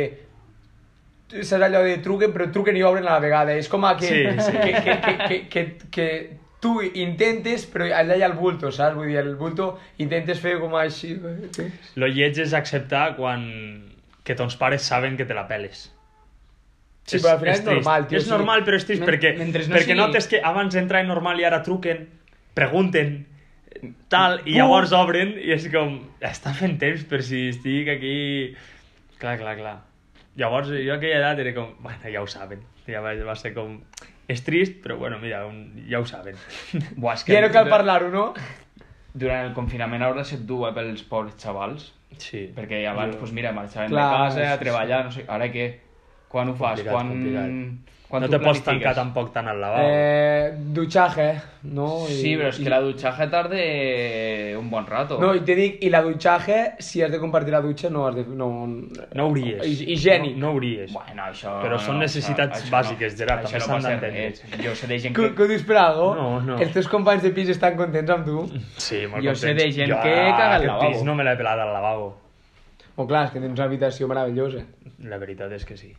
[SPEAKER 2] saps allò de truquen, però truquen i obren a la vegada. És com a que,
[SPEAKER 4] Sí, sí.
[SPEAKER 2] que, que, que, que, que, que tu intentes, però allà hi ha el bulto, saps? Vull dir, el bulto intentes fer com així... eh,
[SPEAKER 4] Lo lleig és acceptar quan... que tons pares saben que te la peles.
[SPEAKER 2] Sí, però al final és,
[SPEAKER 4] trist.
[SPEAKER 2] normal, tio.
[SPEAKER 4] És normal, però és trist
[SPEAKER 3] Men-
[SPEAKER 4] perquè,
[SPEAKER 3] mentre no
[SPEAKER 4] perquè
[SPEAKER 3] sigui-
[SPEAKER 4] notes que abans entra en normal i ara truquen, pregunten, tal, i llavors obren i és com... Està fent temps per si estic aquí... Clar, clar, clar. Llavors, jo a aquella edat era com... Bueno, ja ho saben. Ja va, va ser com... És trist, però bueno, mira, un, ja ho saben. <laughs>
[SPEAKER 3] Buah, és que...
[SPEAKER 2] Ja no cal parlar-ho, no?
[SPEAKER 3] durant el confinament a vegades et duu eh, pels pobres xavals,
[SPEAKER 4] Sí.
[SPEAKER 3] perquè abans, doncs mira, marxaven
[SPEAKER 2] Clar,
[SPEAKER 3] de casa a
[SPEAKER 2] sí,
[SPEAKER 3] treballar, no sé, ara què? Quan ho fas?
[SPEAKER 4] Complicat,
[SPEAKER 3] quan...
[SPEAKER 4] complicat.
[SPEAKER 3] quan
[SPEAKER 4] no
[SPEAKER 3] t'ho
[SPEAKER 4] te pots
[SPEAKER 3] planifiques?
[SPEAKER 4] tancar tampoc tant al lavabo.
[SPEAKER 2] Eh, dutxaje, no?
[SPEAKER 3] Sí, però és que la dutxaja tarda un bon rato.
[SPEAKER 2] No, i te dic, i la dutxaje, si has de compartir la dutxa, no has de... No,
[SPEAKER 4] No hauries.
[SPEAKER 2] Hi- higiènic.
[SPEAKER 4] No, no hauries.
[SPEAKER 3] Bueno, això...
[SPEAKER 4] Però són necessitats bàsiques, Gerard,
[SPEAKER 3] Això
[SPEAKER 4] també
[SPEAKER 3] no
[SPEAKER 4] s'han
[SPEAKER 3] passa
[SPEAKER 4] d'entendre.
[SPEAKER 3] res. Jo sé de gent
[SPEAKER 2] Que, que
[SPEAKER 3] que...
[SPEAKER 2] ho dius per algo?
[SPEAKER 4] No, no.
[SPEAKER 2] Els teus companys de pis estan contents amb tu?
[SPEAKER 3] Mm.
[SPEAKER 4] Sí, molt
[SPEAKER 3] Jo sé
[SPEAKER 4] contents.
[SPEAKER 3] de gent
[SPEAKER 4] Jo
[SPEAKER 3] que caga al
[SPEAKER 4] aquest
[SPEAKER 3] lavabo.
[SPEAKER 4] pis no me l'he pelat al lavabo.
[SPEAKER 2] O clar, és que tens una habitació meravellosa.
[SPEAKER 4] La veritat és que sí.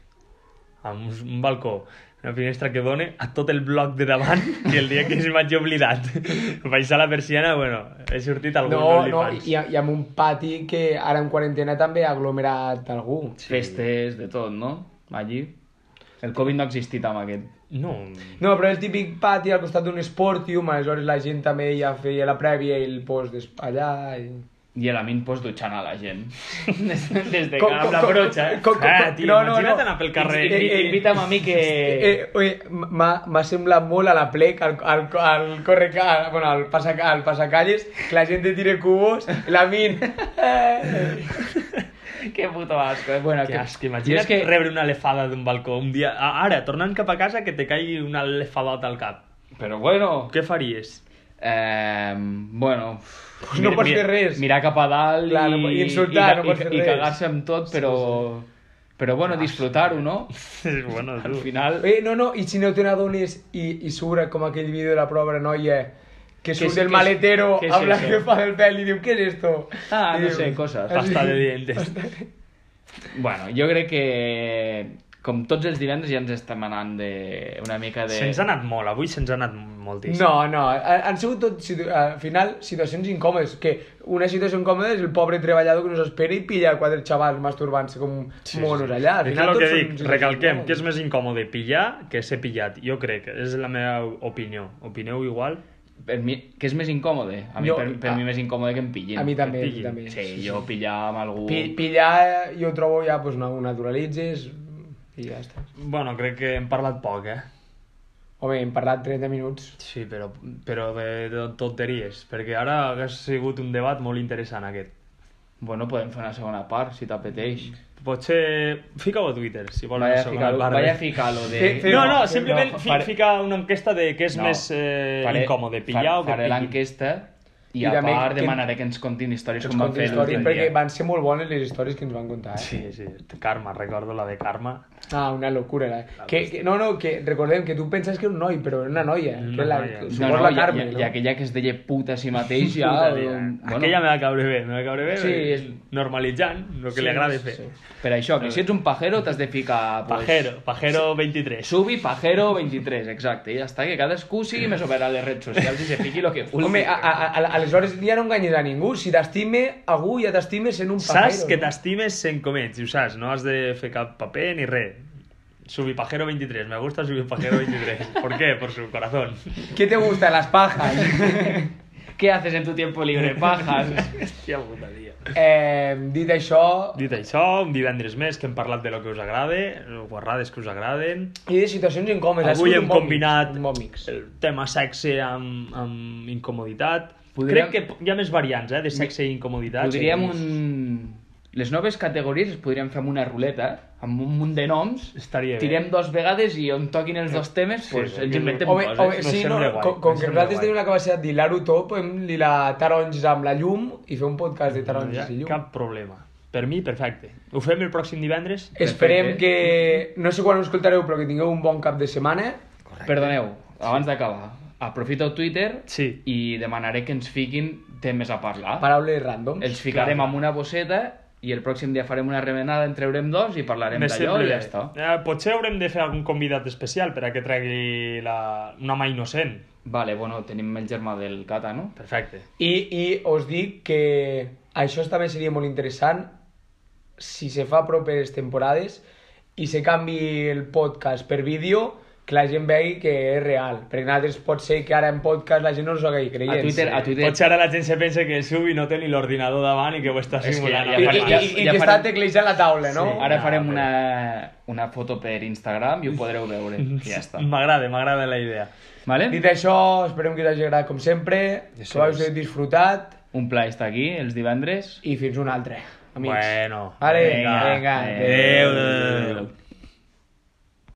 [SPEAKER 4] Amb un- un balcó, una finestra que dona a tot el bloc de davant i el dia que es m'haig oblidat. <laughs> Vaig a la persiana, bueno, he sortit algun
[SPEAKER 2] No, no,
[SPEAKER 4] OnlyFans.
[SPEAKER 2] i, i amb un pati que ara en quarantena també ha aglomerat algú.
[SPEAKER 3] Festes, de tot, no? Allí. El Covid no ha existit amb aquest.
[SPEAKER 4] No,
[SPEAKER 2] No, però el típic pati al costat d'un esportium, aleshores la gent també ja feia la prèvia i el post des- allà... I...
[SPEAKER 3] I a la min pues dutxant a la gent.
[SPEAKER 4] <laughs>
[SPEAKER 3] des, des de
[SPEAKER 2] Com-
[SPEAKER 3] que amb
[SPEAKER 2] com-
[SPEAKER 3] la
[SPEAKER 2] com-
[SPEAKER 3] broxa, eh?
[SPEAKER 2] com- com-
[SPEAKER 4] Ah,
[SPEAKER 2] com-
[SPEAKER 4] tio, imagina't anar pel carrer.
[SPEAKER 2] Eh, eh,
[SPEAKER 3] Invita'm a mi que...
[SPEAKER 2] Eh, oi, m'ha m'ha semblat molt a la plec, al, al, al corre... Al, bueno, al, passa, al passacalles, que la gent te tira cubos, la min... Eh,
[SPEAKER 3] <laughs> Que puto asco. eh? Bueno,
[SPEAKER 4] que asco,
[SPEAKER 3] Mira
[SPEAKER 4] imagina't
[SPEAKER 3] que...
[SPEAKER 4] que... rebre una lefada d'un balcó un dia... a- Ara, tornant cap a casa, que te caigui una lefadota al cap.
[SPEAKER 3] Però bueno...
[SPEAKER 4] Què faries? <laughs>
[SPEAKER 3] Eh, bueno...
[SPEAKER 2] pues no
[SPEAKER 4] Mira,
[SPEAKER 2] pots
[SPEAKER 4] mira,
[SPEAKER 2] fer res.
[SPEAKER 3] Mirar cap a dalt
[SPEAKER 2] Clar, no
[SPEAKER 3] i,
[SPEAKER 2] pot- i insultar,
[SPEAKER 3] i,
[SPEAKER 2] no pots fer
[SPEAKER 3] i, i
[SPEAKER 2] res.
[SPEAKER 3] cagar-se amb tot, però... Però bueno, disfrutar-ho, no?
[SPEAKER 4] És bueno,
[SPEAKER 3] Al
[SPEAKER 4] tu.
[SPEAKER 3] final...
[SPEAKER 2] Eh, no, no, i si no te n'adones i, i surt com aquell vídeo de la pobra noia que surt
[SPEAKER 3] és-
[SPEAKER 2] del
[SPEAKER 3] què és-
[SPEAKER 2] maletero
[SPEAKER 3] què és
[SPEAKER 2] amb la
[SPEAKER 3] això?
[SPEAKER 2] jefa del pèl i diu, què és esto?
[SPEAKER 3] Ah,
[SPEAKER 2] I
[SPEAKER 3] no
[SPEAKER 2] diu,
[SPEAKER 3] sé,
[SPEAKER 2] <laughs>
[SPEAKER 3] coses.
[SPEAKER 4] Pasta de dientes.
[SPEAKER 3] Bueno, jo crec que com tots els divendres ja ens estem anant de una mica de...
[SPEAKER 4] Se'ns ha anat molt, avui se'ns ha anat moltíssim.
[SPEAKER 2] No, no, han han sigut tot, situ- al final, situacions incòmodes, que una situació incòmoda és el pobre treballador que no s'espera i pilla quatre xavals masturbant-se com monos allà. Al
[SPEAKER 4] És
[SPEAKER 2] final,
[SPEAKER 4] el que
[SPEAKER 2] tot són
[SPEAKER 4] dic,
[SPEAKER 2] situacions
[SPEAKER 4] recalquem,
[SPEAKER 2] incòmodes.
[SPEAKER 4] que és més incòmode pillar que ser pillat. Jo crec, és la meva opinió. Opineu igual?
[SPEAKER 3] Per mi, què és més incòmode? A mi,
[SPEAKER 2] Jo-
[SPEAKER 3] per, per
[SPEAKER 2] a-
[SPEAKER 3] mi més incòmode que em pillin.
[SPEAKER 2] A mi també, a
[SPEAKER 4] pillin.
[SPEAKER 2] mi també.
[SPEAKER 3] Sí, jo pillar amb algú...
[SPEAKER 2] Pi- Pillar, eh, jo trobo ja, pues, no, ho naturalitzes i ja està.
[SPEAKER 4] Bueno, crec que hem parlat poc, eh?
[SPEAKER 2] Home, hem parlat 30 minuts.
[SPEAKER 4] Sí, però, però de, de tonteries, perquè ara ha sigut un debat molt interessant aquest.
[SPEAKER 3] Bueno, podem fer una segona part, si t'apeteix.
[SPEAKER 4] Potser... Fica-ho a Twitter, si vols
[SPEAKER 3] Vaya
[SPEAKER 4] una segona
[SPEAKER 3] ficar-lo
[SPEAKER 4] part.
[SPEAKER 3] vaya
[SPEAKER 2] eh?
[SPEAKER 3] ficar-lo de...
[SPEAKER 2] Fe- fe-
[SPEAKER 4] No, no,
[SPEAKER 2] No,
[SPEAKER 4] simplement
[SPEAKER 3] no,
[SPEAKER 4] fi,
[SPEAKER 3] faré-
[SPEAKER 4] fica una enquesta de què és
[SPEAKER 3] No,
[SPEAKER 4] més eh,
[SPEAKER 3] faré-
[SPEAKER 4] incòmode,
[SPEAKER 3] fa-
[SPEAKER 4] pillar o que
[SPEAKER 3] Faré
[SPEAKER 4] pillin.
[SPEAKER 3] l'enquesta i,
[SPEAKER 2] I
[SPEAKER 3] a
[SPEAKER 2] també
[SPEAKER 3] part
[SPEAKER 2] que-
[SPEAKER 3] demanaré que ens contin històries
[SPEAKER 2] Ens
[SPEAKER 3] com van
[SPEAKER 2] conta
[SPEAKER 3] fer
[SPEAKER 2] històries,
[SPEAKER 3] l'últim
[SPEAKER 2] perquè
[SPEAKER 3] dia.
[SPEAKER 2] van ser molt bones les històries que ens van contar, eh?
[SPEAKER 4] Sí, sí, Carme, recordo la de Carme.
[SPEAKER 2] Ah, una locura. La... Que, que, no, no, que recordem que tu penses que era un noi, però era una noia.
[SPEAKER 4] Una
[SPEAKER 2] que la,
[SPEAKER 4] noia.
[SPEAKER 2] Que,
[SPEAKER 3] No,
[SPEAKER 2] supos
[SPEAKER 3] no,
[SPEAKER 2] la
[SPEAKER 3] i,
[SPEAKER 2] Carme,
[SPEAKER 3] i,
[SPEAKER 2] no?
[SPEAKER 3] i aquella que es deia puta a si
[SPEAKER 2] <laughs>
[SPEAKER 3] mateix ja...
[SPEAKER 4] Ja,
[SPEAKER 3] Bueno,
[SPEAKER 4] Aquella me va caure bé, me va caure bé,
[SPEAKER 3] Sí,
[SPEAKER 4] perquè
[SPEAKER 3] és-
[SPEAKER 4] normalitzant el que li agrada fer.
[SPEAKER 3] Per això, que si ets un pajero t'has de ficar... Pues,
[SPEAKER 4] Pajero, Pajero 23.
[SPEAKER 3] Subi pajero 23, exacte. I ja està, que cadascú sigui més obert a les redes socials i se fiqui el que vulgui.
[SPEAKER 2] Home, a, a, a, aleshores ja no enganyes a ningú. Si t'estime, algú ja t'estime sent un pajero.
[SPEAKER 4] Saps que
[SPEAKER 2] no?
[SPEAKER 4] t'estimes sent com ets, i ho saps, no has de fer cap paper ni res. Subipajero 23, me gusta Subipajero
[SPEAKER 2] <laughs>
[SPEAKER 4] 23. ¿Por qué? Por su corazón.
[SPEAKER 2] Què te gusta? Las pajas.
[SPEAKER 3] <laughs> Què haces en tu tiempo libre, pajas?
[SPEAKER 4] Hòstia puta, dia.
[SPEAKER 2] eh, dit això,
[SPEAKER 4] Dit això, un divendres més que hem parlat de lo que us agrade, guarrades que us agraden.
[SPEAKER 2] i de situacions incòmodes. ha
[SPEAKER 4] Avui
[SPEAKER 2] sigut
[SPEAKER 4] hem
[SPEAKER 2] un bon
[SPEAKER 4] combinat
[SPEAKER 2] mix, un bon mix.
[SPEAKER 4] el tema sexe amb, amb incomoditat.
[SPEAKER 3] Podríem-
[SPEAKER 4] Crec que hi ha més variants, eh, de sexe i incomoditat.
[SPEAKER 3] Podríem un... Les noves categories es podrien fer amb una ruleta, amb un munt de noms,
[SPEAKER 4] Estaria bé. Eh,
[SPEAKER 3] tirem dos vegades i on toquin els dos temes,
[SPEAKER 4] Sí,
[SPEAKER 3] pues,
[SPEAKER 4] sí,
[SPEAKER 3] ens
[SPEAKER 4] sí.
[SPEAKER 3] inventem
[SPEAKER 2] Home,
[SPEAKER 3] coses.
[SPEAKER 2] home,
[SPEAKER 4] em
[SPEAKER 2] sí, no,
[SPEAKER 4] sembla guai,
[SPEAKER 2] com, com
[SPEAKER 4] em
[SPEAKER 2] que
[SPEAKER 4] sembla
[SPEAKER 2] nosaltres
[SPEAKER 4] guai.
[SPEAKER 2] tenim la capacitat d'hilar-ho tot, podem lilar taronges amb la llum i fer un podcast
[SPEAKER 4] No
[SPEAKER 3] Doncs
[SPEAKER 2] de
[SPEAKER 4] hi
[SPEAKER 2] taronges
[SPEAKER 4] ha
[SPEAKER 2] i llum.
[SPEAKER 4] cap problema. Per mi, perfecte. Ho fem el pròxim divendres?
[SPEAKER 2] Esperem
[SPEAKER 3] Perfecte.
[SPEAKER 2] que... No sé quan ho escoltareu, però que tingueu un bon cap de setmana.
[SPEAKER 3] Perdoneu, abans d'acabar, aprofito Twitter
[SPEAKER 4] Sí.
[SPEAKER 3] i demanaré que ens fiquin temes a parlar.
[SPEAKER 2] Paraules random.
[SPEAKER 3] Els ficarem amb una bosseta i el pròxim dia farem una remenada, en treurem dos i parlarem
[SPEAKER 4] Me
[SPEAKER 3] d'allò
[SPEAKER 4] sembla
[SPEAKER 3] i
[SPEAKER 4] bé.
[SPEAKER 3] ja està.
[SPEAKER 4] Eh, potser haurem de fer algun convidat especial per a que tregui la... una mà innocent.
[SPEAKER 3] Vale, bueno, tenim el germà del Cata, no?
[SPEAKER 4] Perfecte.
[SPEAKER 2] I, I us dic que això també seria molt interessant si se fa properes temporades i se canvi el podcast per vídeo que la gent vegi que és real. Perquè nosaltres pot ser que ara en podcast la gent no us ho hagi creient.
[SPEAKER 3] A Twitter, a Twitter...
[SPEAKER 4] Potser ara la gent se pensa que el Subi no té ni l'ordinador davant i que ho està
[SPEAKER 3] És que
[SPEAKER 4] simulant.
[SPEAKER 3] ja-
[SPEAKER 2] I,
[SPEAKER 3] ja
[SPEAKER 2] i,
[SPEAKER 3] farem-
[SPEAKER 2] i,
[SPEAKER 3] ja-
[SPEAKER 2] i
[SPEAKER 3] ja farem-
[SPEAKER 2] que està teclejant la taula, no?
[SPEAKER 4] Sí.
[SPEAKER 3] Ara
[SPEAKER 4] No,
[SPEAKER 3] farem
[SPEAKER 4] però-
[SPEAKER 3] una, una foto per Instagram i ho podreu
[SPEAKER 4] <laughs>
[SPEAKER 3] veure. I ja està.
[SPEAKER 4] M'agrada, m'agrada la idea.
[SPEAKER 3] Vale?
[SPEAKER 2] Dit això, esperem que us hagi agradat com sempre,
[SPEAKER 4] Ja
[SPEAKER 2] que
[SPEAKER 4] sabeu.
[SPEAKER 2] ho hagi disfrutat
[SPEAKER 3] Un pla estar aquí, els divendres.
[SPEAKER 2] i fins un altre, amics.
[SPEAKER 4] Bueno.
[SPEAKER 2] Vale,
[SPEAKER 3] Vinga,
[SPEAKER 2] vinga.
[SPEAKER 3] adéu.
[SPEAKER 4] Adéu. adéu.